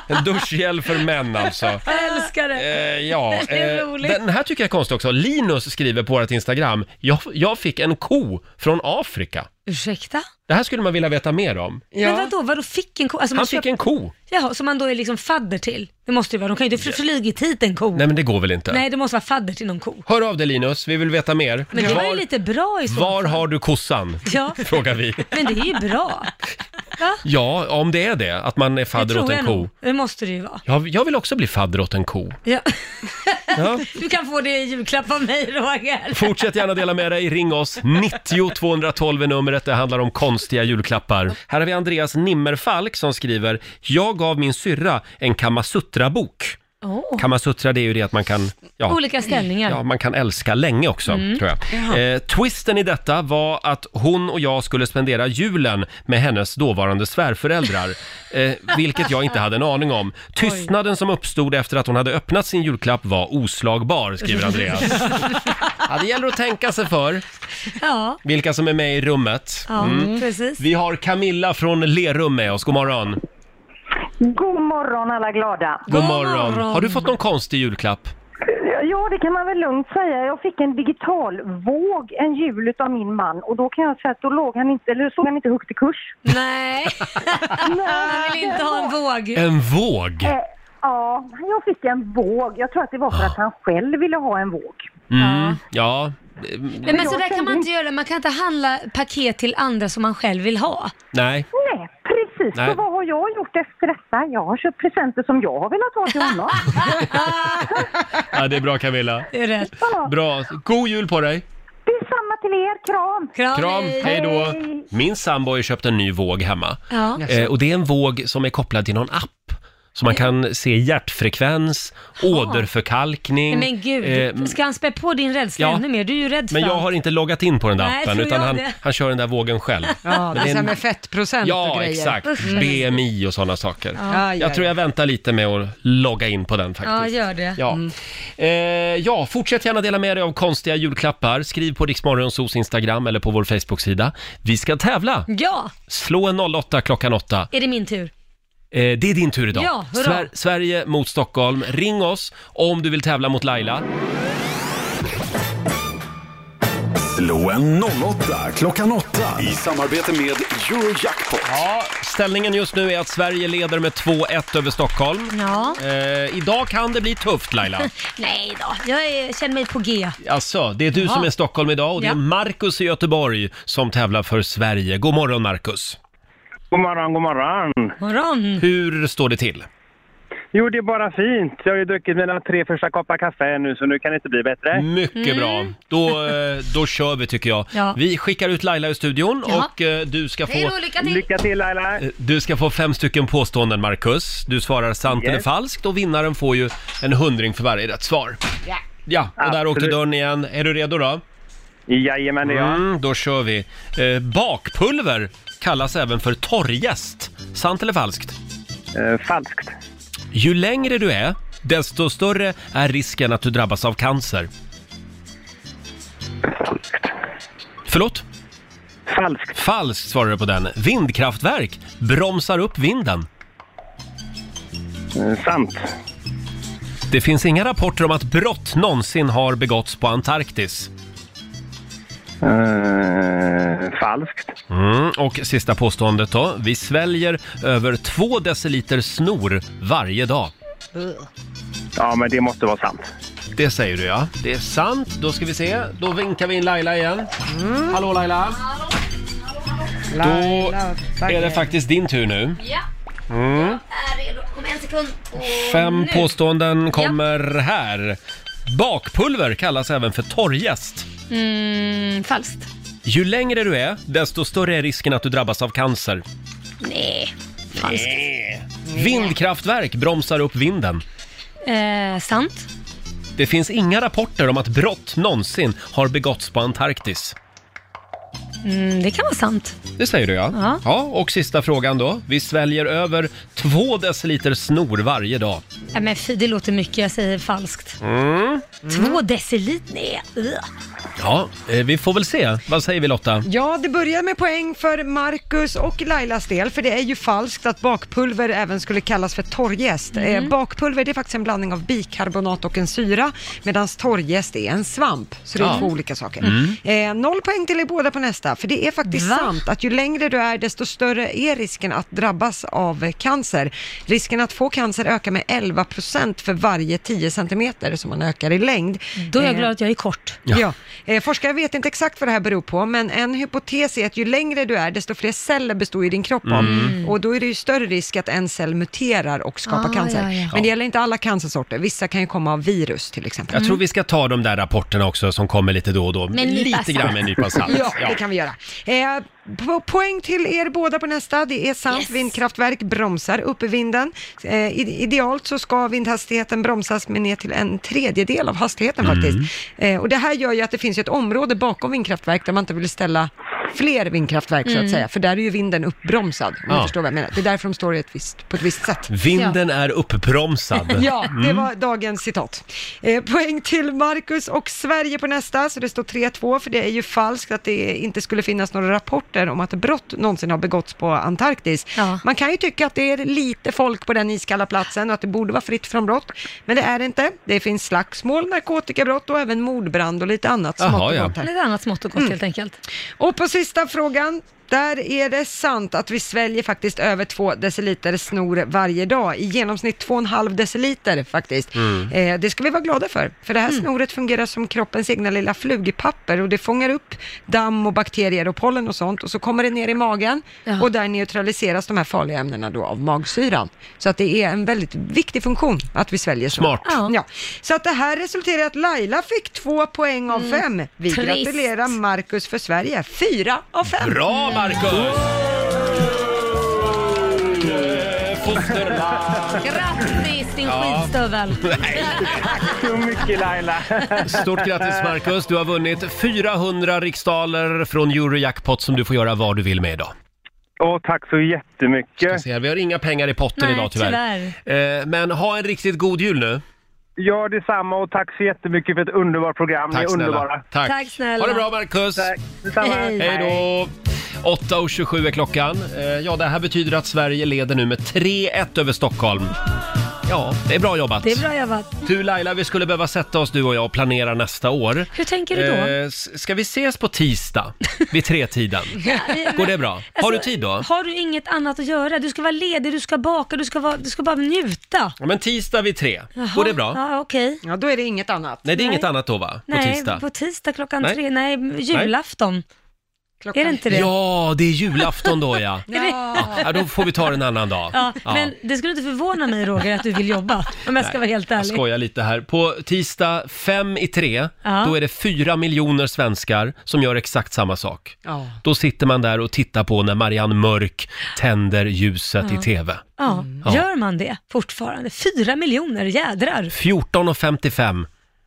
S1: En duschgel för män alltså.
S2: Jag älskar det.
S1: Eh, ja,
S2: Det är
S1: eh,
S2: roligt.
S1: den här tycker jag är konstig också. Linus skriver på vårt Instagram, jag, jag fick en ko från Afrika.
S2: Ursäkta?
S1: Det här skulle man vilja veta mer om.
S2: Men vadå, vadå fick en ko? Alltså,
S1: Han fick en ko.
S2: Jaha, som man då är liksom fadder till. Det måste ju vara, de kan ju inte fl- flugit hit en ko.
S1: Nej men det går väl inte?
S2: Nej, det måste vara fadder till någon ko.
S1: Hör av dig Linus, vi vill veta mer.
S2: Men det var ju
S1: Var-
S2: lite bra i så
S1: Var
S2: fall.
S1: har du kossan?
S2: Ja.
S1: Frågar vi.
S2: Men det är
S1: (laughs)
S2: ju bra.
S1: Ja, om det är det, att man är fadder åt
S2: tror
S1: en
S2: jag
S1: ko.
S2: nog. Det måste det ju vara.
S1: Jag, jag vill också bli fadder åt en ko.
S2: Ja.
S1: Ja.
S2: (laughs) Du kan få det i julklapp av mig Roger.
S1: Fortsätt gärna dela med dig, ring oss. 90 212 är numret, det handlar om konstiga julklappar. Här har vi Andreas Nimmerfalk som skriver, jag gav min syrra en Kamasutra-bok.
S2: Åh.
S1: Kamasutra det är ju det att man kan... Ja,
S2: Olika ställningar.
S1: Ja, man kan älska länge också,
S2: Mm.
S1: tror
S2: Jaha.
S1: jag. Eh, twisten i detta var att hon och jag skulle spendera julen med hennes dåvarande
S2: (laughs)
S1: svärföräldrar, eh, vilket jag inte hade en aning om. Tystnaden som uppstod efter att hon hade öppnat sin julklapp var oslagbar,
S2: (laughs)
S1: skriver Andreas. Ja, det gäller att tänka sig för
S2: Ja,
S1: vilka som är med i rummet.
S2: ja
S1: Mm.
S2: precis.
S1: Vi har Camilla från Lerum med oss. God morgon.
S18: God morgon alla glada.
S1: God morgon. Har du fått någon konstig julklapp?
S18: Ja, det kan man väl lugnt säga. Jag fick en digital våg en jul utav min man och då kan jag säga att då låg han inte, eller såg han inte högt i kurs.
S2: Nej. Han vill inte ha en våg.
S1: En våg?
S18: Eh, ja, jag fick en våg. Jag tror att det var för att han själv ville ha en våg.
S1: Mm, ja.
S2: Nej, men så där kan man inte göra. Man kan inte handla paket till andra som man själv vill ha.
S1: (laughs) Nej.
S18: Nej, precis.
S1: Nej.
S18: Så vad har jag gjort efter detta? Jag har köpt presenter som jag har velat ha till honom.
S1: Ja, det är bra Camilla.
S2: Det är rätt.
S1: Bra. God jul på dig.
S18: Detsamma till er. Kram!
S1: Kram, hej då. Min sambo har ju köpt en ny våg hemma.
S18: Ja.
S1: Eh, och det är en våg som är kopplad till någon app. Så man kan se hjärtfrekvens, åderförkalkning.
S2: Nej, men gud,
S1: eh,
S2: ska han spä på din rädsla
S1: ja.
S2: ännu mer? Du är ju rädd för
S1: men jag
S2: allt.
S1: har inte loggat in på den där
S2: Nej,
S1: appen
S2: tror
S1: utan
S2: jag
S1: han,
S2: det.
S1: han kör den där vågen
S2: (laughs)
S1: själv. Men
S3: Ja, det är så här med fettprocent och
S1: Ja,
S3: grejer.
S1: exakt.
S3: Usch.
S1: BMI och sådana saker.
S3: Ja. Aj, aj,
S1: Jag tror jag väntar lite med att logga in på den faktiskt.
S2: Ja, gör det.
S1: Ja. Eh, ja, fortsätt gärna dela med dig av konstiga julklappar. Skriv på Riksmorgonsos Instagram eller på vår Facebook-sida. Vi ska tävla!
S2: Ja,
S1: Slå en 08 klockan 8.
S2: är det min tur?
S1: Eh, det är din tur idag.
S2: Ja, hurra.
S1: Sverige mot Stockholm. Ring oss om du vill tävla mot Laila.
S4: Slå en 08 klockan 8 i samarbete med Eurojackpot.
S1: Ja. Ställningen just nu är att Sverige leder med 2-1 över Stockholm.
S2: Ja.
S1: Eh, idag kan det bli tufft Laila.
S2: (laughs) Nej då, jag är, känner mig på G.
S1: Alltså, det är du
S2: Ja.
S1: som är Stockholm idag och det är
S2: Ja.
S1: Marcus i Göteborg som tävlar för Sverige. God morgon Marcus!
S15: God morgon, god morgon.
S2: morgon.
S1: Hur står det till?
S15: Jo, det är bara fint. Jag har ju druckit mina tre första koppar kaffe nu, så nu kan det inte bli bättre.
S1: Mycket bra.
S2: (laughs)
S1: Då, eh, då kör vi tycker jag.
S15: Ja.
S1: Vi skickar ut Laila ur studion
S15: Ja.
S1: och eh, du ska få...
S15: Lycka till Laila!
S1: Eh, Du ska få fem stycken påståenden Marcus. Du svarar sant
S15: Yes.
S1: eller falskt och vinnaren får ju en hundring för varje rätt svar.
S15: Ja.
S1: Ja, och där åkte
S15: Absolut.
S1: dörren igen. Är du redo då?
S15: Jajamän, det är jag.
S1: Mm, då kör vi. Eh, bakpulver kallas även för torrjäst. Sant eller falskt?
S15: Eh, falskt.
S1: Ju längre du är, desto större är risken att du drabbas av cancer. Förlåt?
S15: Falskt.
S1: Falskt svarar du på den. Vindkraftverk bromsar upp vinden.
S6: Eh,
S15: sant.
S1: Det finns inga rapporter om att brott någonsin har begåtts på Antarktis.
S15: Eh, falskt.
S1: Mm, och sista påståendet då. Vi sväljer över två deciliter snor varje dag.
S15: Ja, men det måste vara sant.
S1: Det säger du ja. Det är sant. Då ska vi se. Då vinkar vi in Laila igen. Hallå Laila! Då är det faktiskt din tur nu.
S2: Ja,
S1: Mm.
S2: är redo. Om en sekund. Och
S1: Fem
S2: nu.
S1: påståenden kommer här. Bakpulver kallas även för torrjäst.
S2: Mm, falskt.
S1: Ju längre du är, desto större är risken att du drabbas av cancer.
S2: Nej. Falskt.
S1: Vindkraftverk bromsar upp vinden.
S2: Eh, sant.
S1: Det finns inga rapporter om att brott någonsin har begåtts på Antarktis.
S2: Mm, det kan vara sant.
S1: Det säger du ja.
S2: Ja.
S1: och sista frågan då. Vi sväljer över två deciliter snor varje dag.
S2: Nej, men fy, det låter mycket. Jag säger falskt.
S1: Mm.
S2: Två deciliter? Nej. ugh.
S1: Ja, eh, vi får väl se. Vad säger vi Lotta?
S3: Ja, det börjar med poäng för Marcus och Lailas del, för det är ju falskt att bakpulver även skulle kallas för torrjäst.
S12: Mm.
S3: Eh, bakpulver det är faktiskt en blandning av bikarbonat och en syra, medan torrjäst är en svamp. Så det är
S12: Ja.
S3: två olika saker.
S12: Mm.
S3: Eh, noll poäng till er båda på nästa, för det är faktiskt
S12: Va?
S3: sant att ju längre du är, desto större är risken att drabbas av cancer. Risken att få cancer ökar med 11 procent för varje 10 centimeter som man ökar i längd.
S2: Då är jag
S3: Eh,
S2: glad att jag är kort.
S3: Ja. Eh, forskare vet inte exakt vad det här beror på, men en hypotes är att ju längre du är, desto fler celler består ju din kropp av.
S12: Mm.
S3: Och då är det ju större risk att en cell muterar och skapar
S12: Ah,
S3: cancer.
S12: ja, ja.
S3: Men det gäller inte alla cancersorter. Vissa kan ju komma av virus till exempel.
S1: Jag tror vi ska ta de där rapporterna också som kommer lite då och då.
S3: Mm. Med en nypa
S1: lite
S3: salt.
S1: grann med en nypa salt.
S3: Ja, det kan vi göra. Eh, po poäng till er båda på nästa. Det är sant, vindkraftverk bromsar upp i vinden. Eh, i- idealt så ska vindhastigheten bromsas med ner till en tredjedel av hastigheten
S12: Mm.
S3: faktiskt. Eh, och det här gör ju att det finns ju ett område bakom vindkraftverk där man inte vill ställa fler vindkraftverk så
S1: Mm.
S3: att säga, för där är ju vinden uppbromsad, om
S1: Ja.
S3: du förstår vad jag menar. Det är därför de står i ett visst, på ett visst sätt.
S1: Vinden är uppbromsad.
S3: (laughs) Ja, det
S1: Mm.
S3: var dagens citat. Eh, poäng till Marcus och Sverige på nästa, så det står 3-2, för det är ju falskt att det inte skulle finnas några rapporter om att brott någonsin har begåtts på Antarktis. Man kan ju tycka att det är lite folk på den iskalla platsen och att det borde vara fritt från brott, men det är det inte. Det finns slagsmål, narkotikabrott och även mordbrand och lite annat smått och gott här.
S2: Lite annat smått och gott
S3: Mm.
S2: helt enkelt.
S3: Och på sista frågan, där är det sant att vi sväljer faktiskt över två deciliter snor varje dag. I genomsnitt två och en halv deciliter faktiskt.
S12: Mm.
S3: Eh, det ska vi vara glada för, för det här snoret fungerar som kroppens egna lilla flugpapper och det fångar upp damm och bakterier och pollen och sånt och så kommer det ner i magen och där neutraliseras de här farliga ämnena då av magsyran. Så att det är en väldigt viktig funktion att vi sväljer snor.
S12: Smart.
S3: Ja. Så att det här resulterar i att Laila fick två poäng av
S12: Mm.
S3: fem. Vi
S12: Trist.
S3: gratulerar Marcus för Sverige. Fyra av fem.
S1: Bra
S3: (laughs)
S1: Marcus!
S2: Grattis din
S1: Ja.
S2: skitstövel!
S15: Tack så mycket Laila!
S1: Stort grattis Marcus, du har vunnit 400 riksdaler från Eurojackpot som du får göra vad du vill med idag.
S15: Åh, tack så jättemycket!
S1: Ska se här. Vi har inga pengar i potten
S15: Nej,
S1: idag tyvärr. Eh, Men ha en riktigt god jul nu.
S15: Ja, detsamma och tack så jättemycket för ett underbart program. Ni
S1: Tack
S15: är
S1: snälla.
S15: underbara.
S1: Tack.
S2: Tack snälla.
S1: Ha det bra Marcus! Tack
S15: detsamma. Hej.
S1: Hej då! 8.27 är klockan. Eh, Ja, det här betyder att Sverige leder nu med 3-1 över Stockholm. Ja, det är bra jobbat.
S2: Det är bra jobbat.
S1: Du Laila, vi skulle behöva sätta oss du och jag och planera nästa år.
S2: Hur tänker du då?
S1: Eh, s- ska vi ses på tisdag vid
S2: (laughs)
S1: tretiden? Eh, Går det bra? Har du tid då?
S2: Eh, alltså, Har du inget annat att göra? Du ska vara ledig, du ska baka, du ska, vara, du ska bara njuta.
S1: Ja, men tisdag vid tre.
S2: Jaha,
S1: Går det bra?
S2: Ja, okej.
S3: Ja, då är det inget annat.
S1: Nej, det är inget annat då va? På
S2: Nej,
S1: tisdag?
S2: på tisdag klockan
S1: Nej.
S2: tre. Nej, julafton. Är det inte det?
S1: Ja, det är julafton då
S2: (laughs)
S1: ja.
S2: Är det-
S1: ja. Då får vi ta det en annan dag.
S2: Ja,
S1: Ja.
S2: men det skulle inte förvåna mig Roger att du vill jobba, om jag ska
S1: Nej,
S2: vara helt
S1: Jag
S2: ärlig.
S1: skojar lite här. På tisdag fem i tre,
S2: Ja.
S1: då är det fyra miljoner svenskar som gör exakt samma sak.
S3: Ja.
S1: Då sitter man där och tittar på när Marianne Mörk tänder ljuset
S2: Ja.
S1: i TV.
S2: Ja,
S1: Ja.
S2: gör man det fortfarande? Fyra miljoner, jädrar.
S1: 14.55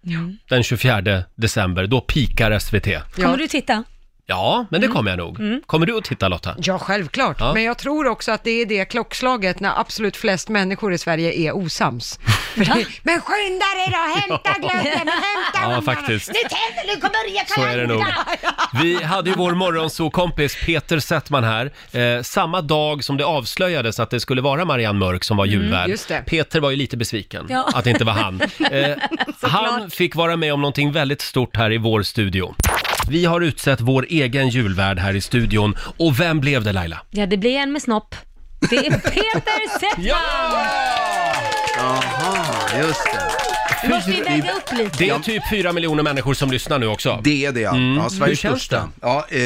S2: Ja.
S1: den 24 december, då pikar SVT.
S2: Kommer du titta?
S1: Ja, men det kommer jag nog.
S3: Mm.
S1: Kommer du att titta Lotta?
S3: Ja, självklart.
S12: (laughs)
S1: Ja. (laughs)
S3: Men jag tror också att det är det klockslaget när absolut flest människor i Sverige är osams.
S19: Men skynda dig då, hämta glöggen, hämta
S1: Ja,
S19: ungarna.
S1: faktiskt.
S19: Nu tänder du, kom börja
S1: Så är det nog. Vi hade ju vår morgonsokompis Peter Settman här, eh, samma dag som det avslöjades att det skulle vara Marianne Mörk som var
S4: Mm,
S1: julvärd.
S4: just det.
S1: Peter var ju lite besviken
S4: Ja.
S1: att det inte
S16: (laughs)
S1: var (laughs) han. Eh, han fick vara med om någonting väldigt stort här i vår studio. Vi har utsett vår egen julvärd här i studion. Och vem blev det Laila?
S2: Ja, det blir en med snopp. Det
S1: (laughs)
S2: är Peter Settman!
S1: Jaha, just
S2: Nu måste vi väga upp lite.
S1: Det är typ fyra miljoner människor som lyssnar nu också.
S20: Det är det ja.
S1: Mm.
S20: ja Sveriges
S1: Hur känns
S20: största. Ja, eh,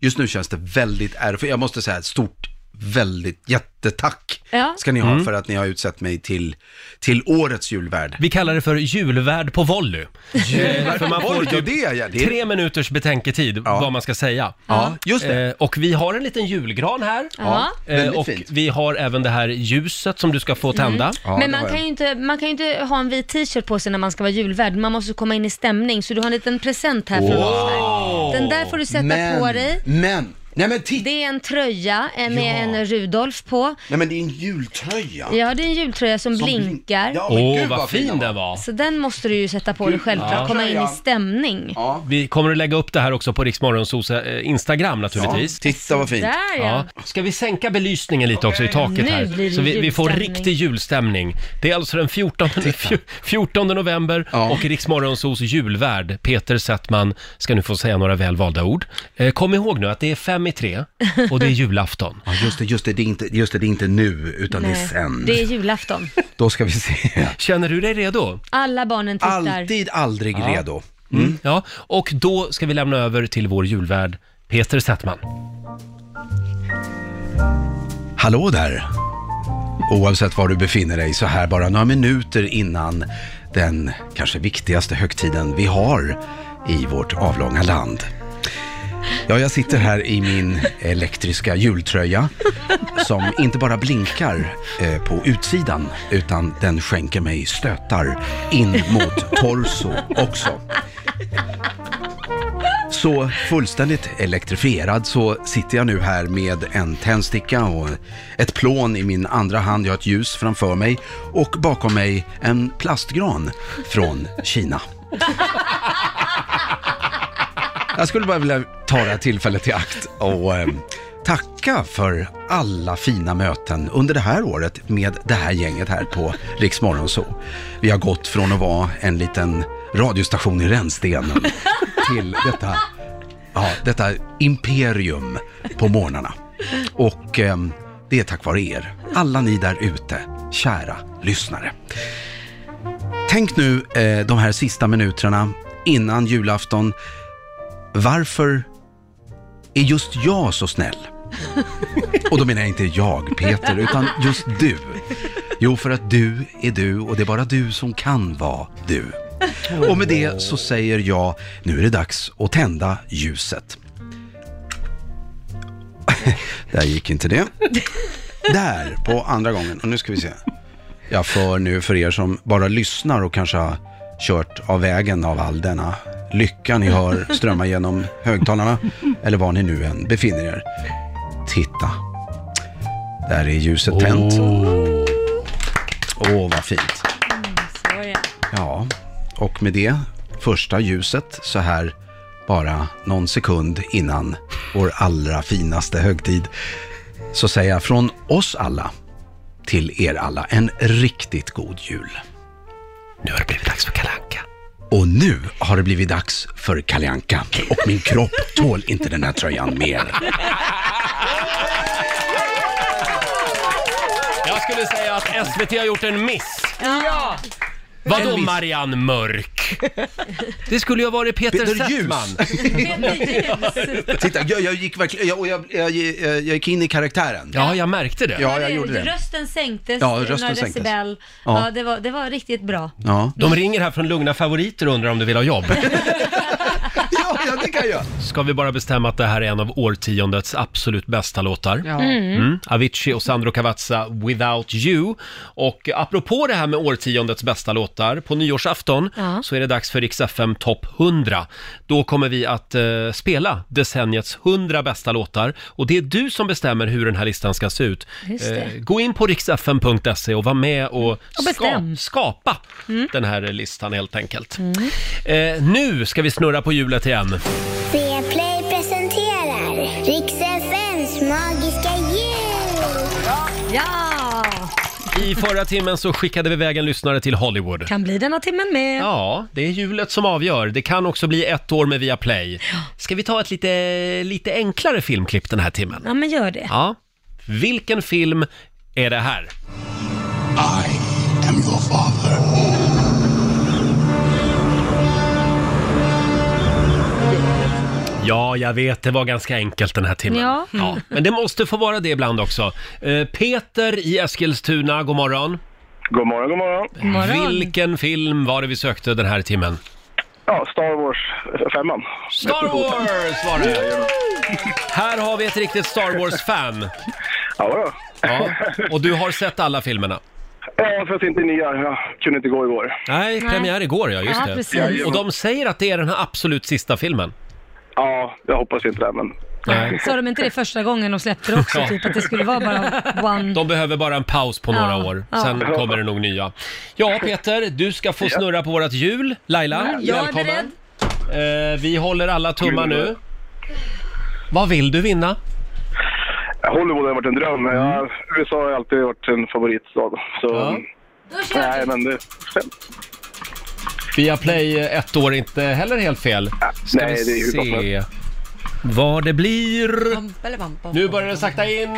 S20: just nu känns det väldigt ärofyllt. Jag måste säga ett stort, väldigt, jättetack
S2: Ja.
S20: ska ni ha
S1: Mm.
S20: för att ni har utsett mig till, till årets julvärd.
S1: Vi kallar det för julvärd på volley.
S20: Julvärd
S1: för man
S20: på
S1: får
S20: volley,
S1: typ
S20: det är jag, det är-
S1: tre minuters betänketid vad man ska säga.
S20: Ja, just det.
S1: Eh, Och vi har en liten julgran här.
S2: Ja.
S1: Eh,
S20: Väldigt
S1: Och
S20: fint. Mm.
S1: vi har även det här ljuset som du ska få tända.
S2: Men man kan, ju inte, man kan ju inte ha en vit t-shirt på sig när man ska vara julvärd. Man måste komma in i stämning, så du har en liten present här från oss. här. Den där får du sätta
S20: men,
S2: på dig.
S20: Men, nej men titta!
S2: Det är en tröja eh, med
S20: Ja.
S2: en Rudolf på.
S20: Nej men det är en jultröja.
S2: Ja, det är en jultröja som,
S20: Som blin-
S2: blinkar.
S20: Ja, men Åh, gud, vad vad fin fin
S1: den var.
S2: Så den måste du ju sätta på dig självklart,
S1: Ja.
S2: komma in i
S1: Tröjan.
S2: stämning.
S1: Vi kommer att lägga upp det här också på Riksmorgonsos eh, Instagram naturligtvis.
S20: titta vad
S2: fint. Där, ja.
S1: Ska vi sänka belysningen lite också i taket
S2: Nu blir
S1: här?
S2: det
S1: Så vi, vi får
S2: julstämning.
S1: riktig julstämning. Det är alltså den 14, (laughs) 14 november och Riksmorgonsos julvärd Peter Settman ska nu få säga några välvalda ord. Eh, Kom ihåg nu att det är fem i tre och det är julafton.
S20: (laughs) Ja, just det, just det, det är inte, just det, det är inte nu utan det är
S2: Nej,
S20: sen.
S2: Det är julafton.
S20: Då ska vi se.
S1: Känner du dig redo?
S2: Alla barnen tittar.
S20: Alltid, aldrig
S1: Ja.
S20: redo.
S1: Mm. Ja, och då ska vi lämna över till vår julvärd Peter Settman.
S20: Hallå där! Oavsett var du befinner dig så här bara några minuter innan den kanske viktigaste högtiden vi har i vårt avlånga land. Ja, jag sitter här i min elektriska jultröja som inte bara blinkar eh, på utsidan utan den skänker mig stötar in mot torso också. Så fullständigt elektrifierad så sitter jag nu här med en tändsticka och ett plån i min andra hand. Jag har ett ljus framför mig och bakom mig en plastgran från Kina. Jag skulle bara vilja ta det här tillfället i akt och eh, tacka för alla fina möten under det här året med det här gänget här på Rix Morgon Zoo. Vi har gått från att vara en liten radiostation i rännstenen till detta, ja, detta imperium på morgnarna. Och eh, det är tack vare er, alla ni där ute, kära lyssnare. Tänk nu eh, de här sista minuterna innan julafton varför är just jag så snäll? Och då menar jag inte jag, Peter, utan just du. Jo, för att du är du och det är bara du som kan vara du. Och med det så säger jag, nu är det dags att tända ljuset. (laughs) Där gick inte det. Där, på andra gången. Och nu ska vi se. Jag för nu för er som bara lyssnar och kanske har kört av vägen av all denna lycka ni hör strömma genom högtalarna, eller var ni nu än befinner er. Titta. Där är ljuset tänt. Åh, vad fint.
S2: Mm,
S20: Ja, och med det första ljuset så här bara någon sekund innan vår allra finaste högtid så säger jag från oss alla till er alla en riktigt god jul. Nu har det blivit dags för kalanka. Och nu har det blivit dags för kalanka. och min kropp tål inte den här tröjan mer.
S1: Jag skulle säga att SVT har gjort en miss.
S2: Ja.
S1: Vadå
S4: En miss.
S1: Marianne
S2: (laughs)
S1: Mörk? Det skulle ju ha varit Peter,
S20: Peter
S1: Settman.
S20: Titta, jag, jag gick verkligen, jag, och jag, jag, jag gick in i karaktären.
S1: Ja, jag märkte det.
S20: Ja, jag gjorde det.
S2: Rösten sänktes
S20: Ja, rösten
S2: några
S20: sänktes.
S2: decibel. Ja.
S1: Ja.
S2: det, var, det var riktigt bra.
S1: De ringer här från Lugna Favoriter och undrar om du vill ha jobb.
S20: (laughs) ja, det kan jag.
S1: Ska vi bara bestämma att det här är en av årtiondets absolut bästa låtar?
S20: Ja.
S1: Mm.
S20: Mm.
S1: Avicii och Sandro Cavazza, Without You. Och apropå det här med årtiondets bästa låtar, på nyårsafton
S4: Ja.
S1: så är det dags för Rix FM Topp 100. Då kommer vi att eh, spela decenniets 100 bästa låtar och det är du som bestämmer hur den här listan ska se ut. Eh,
S4: Just det.
S1: gå in på riksfm.se och var med och,
S4: bestäm. Mm.
S1: ska, skapa den här listan helt enkelt. Eh, nu ska vi snurra på hjulet igen.
S7: Viaplay presenterar Rix FMs magiska jul!
S2: Ja!
S1: I förra timmen så skickade vi iväg en lyssnare till Hollywood.
S2: Kan bli denna timmen med.
S1: Ja, det är hjulet som avgör. Det kan också bli ett år med Viaplay. Ska vi ta ett lite, lite enklare filmklipp den här timmen?
S2: Ja, men gör det.
S1: Ja. Vilken film är det här? Ja, jag vet, det var ganska enkelt den här timmen.
S4: Ja.
S1: Men det måste få vara det ibland också. Eh, Peter i Eskilstuna, god morgon.
S15: God morgon, god morgon.
S4: morgon.
S1: Vilken film var det vi sökte den här timmen?
S15: Ja, Star Wars 5
S1: Star Wars var det! Här har vi ett riktigt Star Wars-fan.
S15: Ja,
S1: ja. Och du har sett alla filmerna?
S15: Ja, för att inte ni är Jag kunde inte gå igår.
S1: Nej,
S15: Nej.
S1: premiär igår ja, just
S15: Ja,
S1: det.
S15: precis.
S1: Och de säger att det är den här absolut sista filmen.
S15: Ja, jag hoppas inte det, men...
S1: Nej.
S2: (laughs) Sa de inte det första gången de släppte det också?
S1: Ja.
S2: Typ att det skulle vara bara one...
S1: De behöver bara en paus på
S2: Ja,
S1: några år,
S2: ja.
S1: sen kommer det nog nya. Ja, Peter, du ska få snurra på vårat hjul. Laila,
S2: Mm, jag är
S1: välkommen. Eh, vi håller alla tummar nu. Vad vill du vinna?
S15: Hollywood har varit en dröm.
S1: Mm.
S15: Jag, USA har alltid varit en favoritstad. Så... Nej, men det...
S1: Viaplay eh, ett år är inte heller helt fel. Ska
S15: Nej, det är
S1: vi
S15: ju
S1: se
S15: hoppas
S1: vad det blir. Nu börjar det sakta in.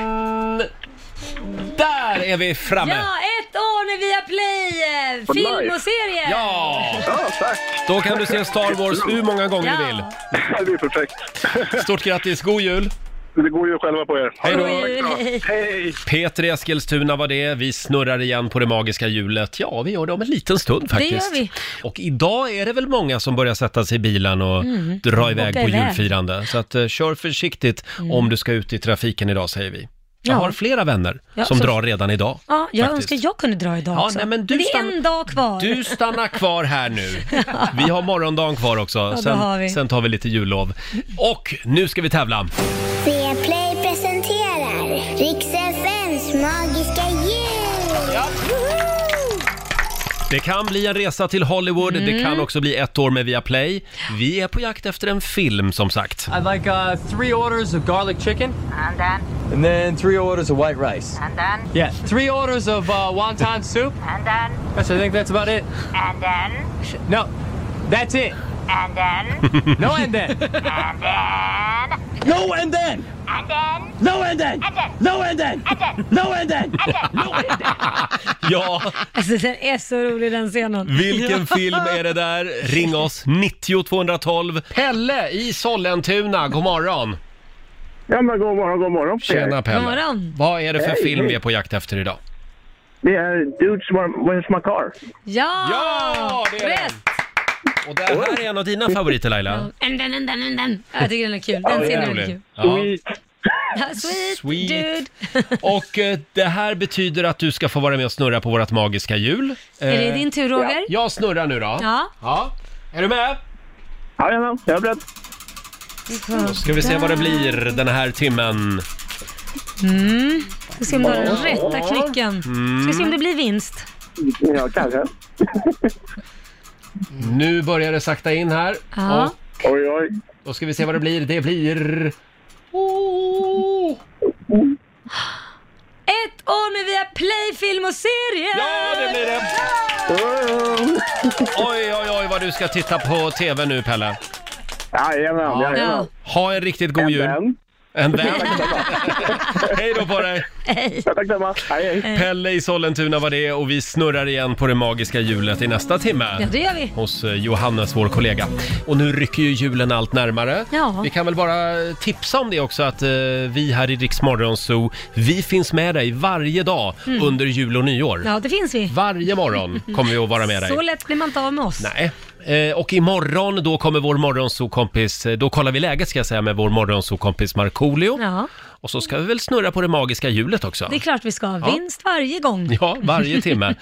S1: Där är vi framme!
S2: Ja, ett år med Viaplay! eh,
S1: På
S2: Film
S1: live.
S2: och serier!
S1: Ja! Då kan du se Star Wars hur många gånger du
S2: Ja.
S1: vill.
S15: (laughs) Det är perfekt.
S1: Stort grattis, god jul!
S15: Det går ju själva på er.
S1: Hej då!
S15: Hej!
S1: Peter i Eskilstuna var det. Vi snurrar igen på det magiska hjulet. Ja, vi gör det om en liten stund
S4: Det gör
S1: faktiskt.
S4: vi.
S1: Och idag är det väl många som börjar sätta sig i bilen och
S4: Mm.
S1: dra iväg
S4: Åka
S1: på
S4: iväg.
S1: julfirande. Så att, eh, kör försiktigt
S2: Mm.
S1: om du ska ut i trafiken idag, säger vi. Jag
S2: Ja.
S1: har flera vänner
S2: Ja,
S1: som
S2: så-
S1: drar redan idag.
S2: Ja, jag
S1: faktiskt.
S2: önskar jag kunde dra idag
S1: Ja,
S2: också.
S1: nej, men du
S2: det är
S1: stann-
S2: en dag kvar. (laughs)
S1: Du stannar kvar här nu. Vi har morgondagen kvar också.
S7: då
S1: Sen,
S7: har vi.
S1: sen tar vi lite jullov. Och nu ska vi tävla.
S7: Viaplay presenterar Rix FMs magiska jul! Woho!
S1: Det kan bli en resa till Hollywood, det
S7: Mm.
S1: kan också bli ett år med Viaplay. Vi är på jakt efter en film som sagt.
S21: I'd like uh, three orders of garlic chicken. And then?
S16: And then three orders of white rice.
S21: And then?
S16: Yeah, three orders of uh, wonton soup.
S21: And then?
S16: Yes, I think that's about it.
S21: And then?
S16: No, that's it.
S21: And then?
S16: (laughs) No and then.
S21: And then?
S16: No and then.
S21: And then?
S16: No and then. No and then. No and then.
S1: Ja,
S2: Alltså den är så rolig den scenen.
S1: vilken film är det där? Ring oss, 90 212. Pelle i Sollentuna, god morgon.
S15: Ja, men god morgon, god morgon.
S1: Tjena Pelle.
S15: God
S2: morgon.
S1: Vad är det för
S15: Hej,
S1: film
S15: hej.
S1: vi är på jakt efter idag?
S15: Det är Dudes, where's my car?
S2: Ja!
S1: Ja, det är den.
S2: Rätt!
S1: Och det här är en av dina favoriter Laila.
S2: And then, and then, and then. Jag tycker den är kul. Den scenen är väldigt kul.
S1: Ja.
S2: Sweet,
S1: Sweet.
S2: dude.
S1: Och eh, det här betyder att du ska få vara med och snurra på vårt magiska hjul.
S2: Är det
S1: Eh,
S2: din tur Roger?
S1: Jag snurrar nu då.
S2: Ja.
S1: ja. Är du med?
S15: Jajamän, jag är beredd.
S1: Då ska vi se vad det blir den här timmen.
S2: Mm. Ska se om du har den rätta knycken. Ska se om det blir vinst.
S15: Ja, kanske.
S1: Mm. Nu börjar det sakta in här.
S2: Ja.
S1: Och oj, oj. Då ska vi se vad det blir. Det blir... Oh.
S2: Ett år med via play, film och serier! Ja,
S1: det blir det! Oj, oj, oj vad du ska titta på TV nu Pelle.
S15: Jajamän, jajamän.
S1: Ha en riktigt god jul. En vän. Hej då på dig!
S2: Hej.
S15: Tack detsamma. Hej, hej.
S1: Pelle i Sollentuna var det och vi snurrar igen på det magiska hjulet i nästa
S2: Ja,
S1: timme.
S2: det gör vi.
S1: Hos eh, Johannes, vår kollega. Och nu rycker ju julen allt närmare.
S2: Ja.
S1: Vi kan väl bara tipsa om det också att eh, vi här i Rix Morgon Zoo, vi finns med dig varje dag
S2: Mm.
S1: under jul och nyår.
S2: Ja, det finns vi. (laughs)
S1: Varje morgon kommer vi att vara med dig.
S2: Så lätt blir man inte av med oss.
S1: Nej, Eh, och imorgon då kommer vår morgonsokompis, eh, då kollar vi läget ska jag säga med vår morgonsokompis Markoolio.
S2: Ja,
S1: Och så ska vi väl snurra på det magiska hjulet också.
S2: det är klart vi ska ha
S1: Ja.
S2: vinst varje gång.
S1: Mm. Ja, varje timme.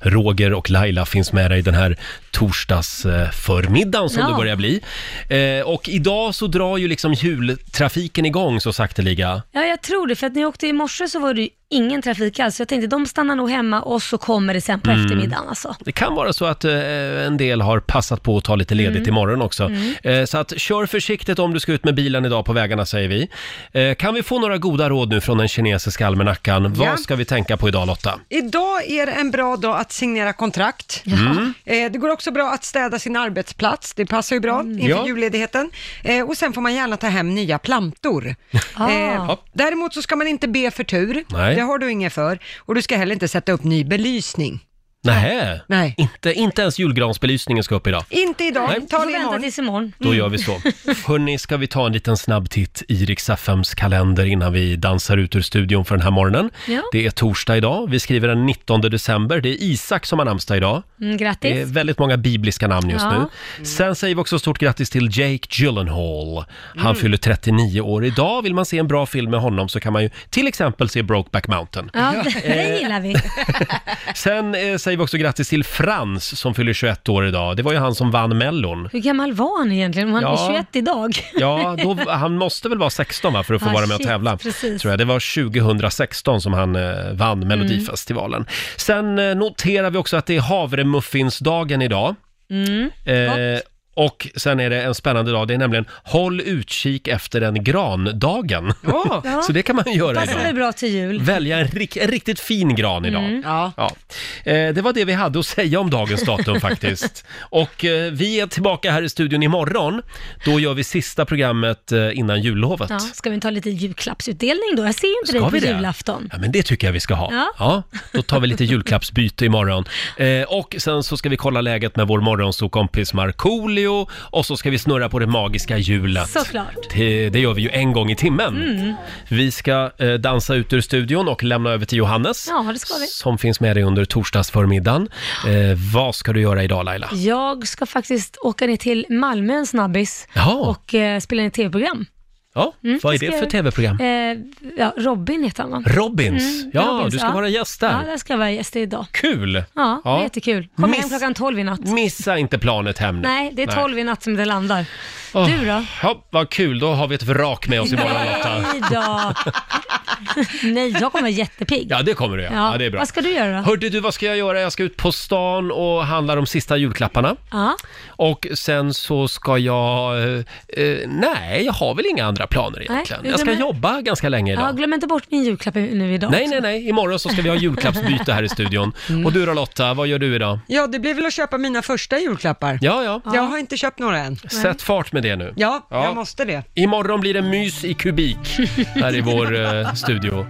S1: Roger och Laila finns med dig den här torsdagsförmiddagen som
S2: Ja.
S1: det börjar bli. Eh, och idag så drar ju liksom jultrafiken igång så sakteliga.
S2: Ja, jag tror det. För att när jag åkte i morse så var det ju ingen trafik alls. Så jag tänkte, de stannar nog hemma och så kommer det sen på
S1: Mm.
S2: eftermiddagen alltså.
S1: Det kan vara så att eh, en del har passat på att ta lite ledigt
S2: Mm.
S1: imorgon också.
S2: Mm.
S1: Eh, så att kör försiktigt om du ska ut med bilen idag på vägarna säger vi. Eh, kan vi få några goda råd nu från den kinesiska almanackan?
S3: Ja.
S1: Vad ska vi tänka på idag Lotta?
S3: Idag är det en bra dag att signera kontrakt.
S1: Mm.
S3: Eh, Det går också bra att städa sin arbetsplats, det passar ju bra inför
S1: Ja.
S3: julledigheten. Eh, Och sen får man gärna ta hem nya plantor.
S2: Ah.
S3: Eh, Däremot så ska man inte be för tur,
S1: Nej.
S3: det har du inget för. Och du ska heller inte sätta upp ny belysning.
S1: Nähä,
S3: Nej.
S1: Inte, inte ens julgransbelysningen ska upp idag.
S3: Inte idag,
S1: Nej.
S3: ta
S2: Vi
S3: det
S2: får vänta
S3: imorgon.
S2: tills imorgon.
S1: Då gör vi så. Hörni, ska vi ta en liten snabb titt i Rix FMs kalender innan vi dansar ut ur studion för den här morgonen.
S2: Ja.
S1: Det är torsdag idag. Vi skriver den 19 december. Det är Isak som har namnsdag idag.
S2: Mm, grattis.
S1: Det är väldigt många bibliska namn just
S2: Ja. Mm.
S1: nu. Sen säger vi också stort grattis till Jake Gyllenhaal. Han
S2: Mm.
S1: fyller 39 år idag. Vill man se en bra film med honom så kan man ju till exempel se Brokeback Mountain.
S2: Ja, (laughs) det,
S1: eh.
S2: det gillar vi.
S1: Sen eh, säger vi också grattis till Frans som fyller 21 år idag. Det var ju han som vann Mellon.
S2: Hur gammal var han egentligen? Om han
S1: Ja.
S2: är 21 idag?
S1: (laughs) Ja, då, han måste väl vara 16 va, för att få
S2: Ah,
S1: vara med och
S2: shit,
S1: tävla.
S2: precis.
S1: Tror jag. Det var 2016 som han eh, vann Melodifestivalen. Sen eh, noterar vi också att det är havremuffinsdagen idag.
S2: Mm.
S1: Eh, och sen är det en spännande dag, det är nämligen Håll utkik efter en grandagen.
S2: (laughs) Ja.
S1: (laughs) Så det kan man ju göra
S2: Passar väl
S1: idag.
S2: bra till jul.
S1: Välja en, rik, en riktigt fin gran idag.
S2: Mm. Ja.
S1: Eh, det var det vi hade att säga om dagens
S2: (laughs)
S1: datum faktiskt. Och eh, vi är tillbaka här i studion imorgon. Då gör vi sista programmet eh, innan jullovet.
S2: Ja,
S1: Ja.
S2: ska vi ta lite julklappsutdelning då? Jag ser ju inte
S1: Ska
S2: dig
S1: vi
S2: på
S1: det?
S2: julafton.
S1: men det tycker jag vi ska ha.
S2: Ja.
S1: Ja. då tar vi lite julklappsbyte imorgon. Eh, och sen så ska vi kolla läget med vår morgonsokompis Markoolio och så ska vi snurra på det magiska hjulet.
S2: Såklart.
S1: Det, det gör vi ju en gång i timmen.
S2: Mm.
S1: Vi ska eh, dansa ut ur studion och lämna över till Johannes.
S2: Ja, det ska vi.
S1: Som finns med dig under torsdagsförmiddagen. Eh, vad ska du göra idag Laila?
S2: Jag ska faktiskt åka ner till Malmö en snabbis
S1: Jaha.
S2: och eh, spela in ett tv-program.
S1: Ja,
S2: Mm,
S1: vad är
S2: ska
S1: det för
S2: jag-
S1: tv-program?
S2: Eh, ja, Robin heter han va? Mm,
S1: Robins. Ja, du ska
S2: ja.
S1: vara gäst där.
S2: Ja, där ska jag vara gäst idag.
S1: Kul!
S2: Ja, det är
S1: Ja.
S2: jättekul. Kommer
S1: Miss- Mm.
S2: hem klockan 12 i natt.
S1: Missa inte planet hem nu.
S2: Nej, det är 12 i natt som det landar. Du då?
S1: Ja, vad kul, då har vi ett vrak med oss imorgon Lotta.
S2: (laughs) Nej då. Nej, jag kommer vara jättepigg.
S1: Ja, det kommer du göra. Ja. det är bra.
S2: Vad ska du göra då?
S1: Hörde du, vad ska jag göra? Jag ska ut på stan och handla de sista julklapparna.
S2: Ja.
S1: Och sen så ska jag... eh, Eh, nej, jag har väl inga andra planer egentligen.
S2: utan
S1: jag ska
S2: men-
S1: jobba ganska länge idag.
S2: ja, glöm inte bort min julklapp nu idag.
S1: nej, nej, nej. Imorgon så ska vi ha
S2: (laughs)
S1: julklappsbyte här i
S3: (laughs)
S1: studion.
S3: Mm.
S1: Och du då Lotta, vad gör du idag?
S3: Ja, det blir väl att köpa mina första julklappar.
S1: Ja, ja.
S3: Jag har inte köpt några än.
S1: Sätt fart med det nu.
S3: Ja,
S1: Ja.
S3: jag måste det.
S1: Imorgon blir det mys i kubik här i vår eh, studio.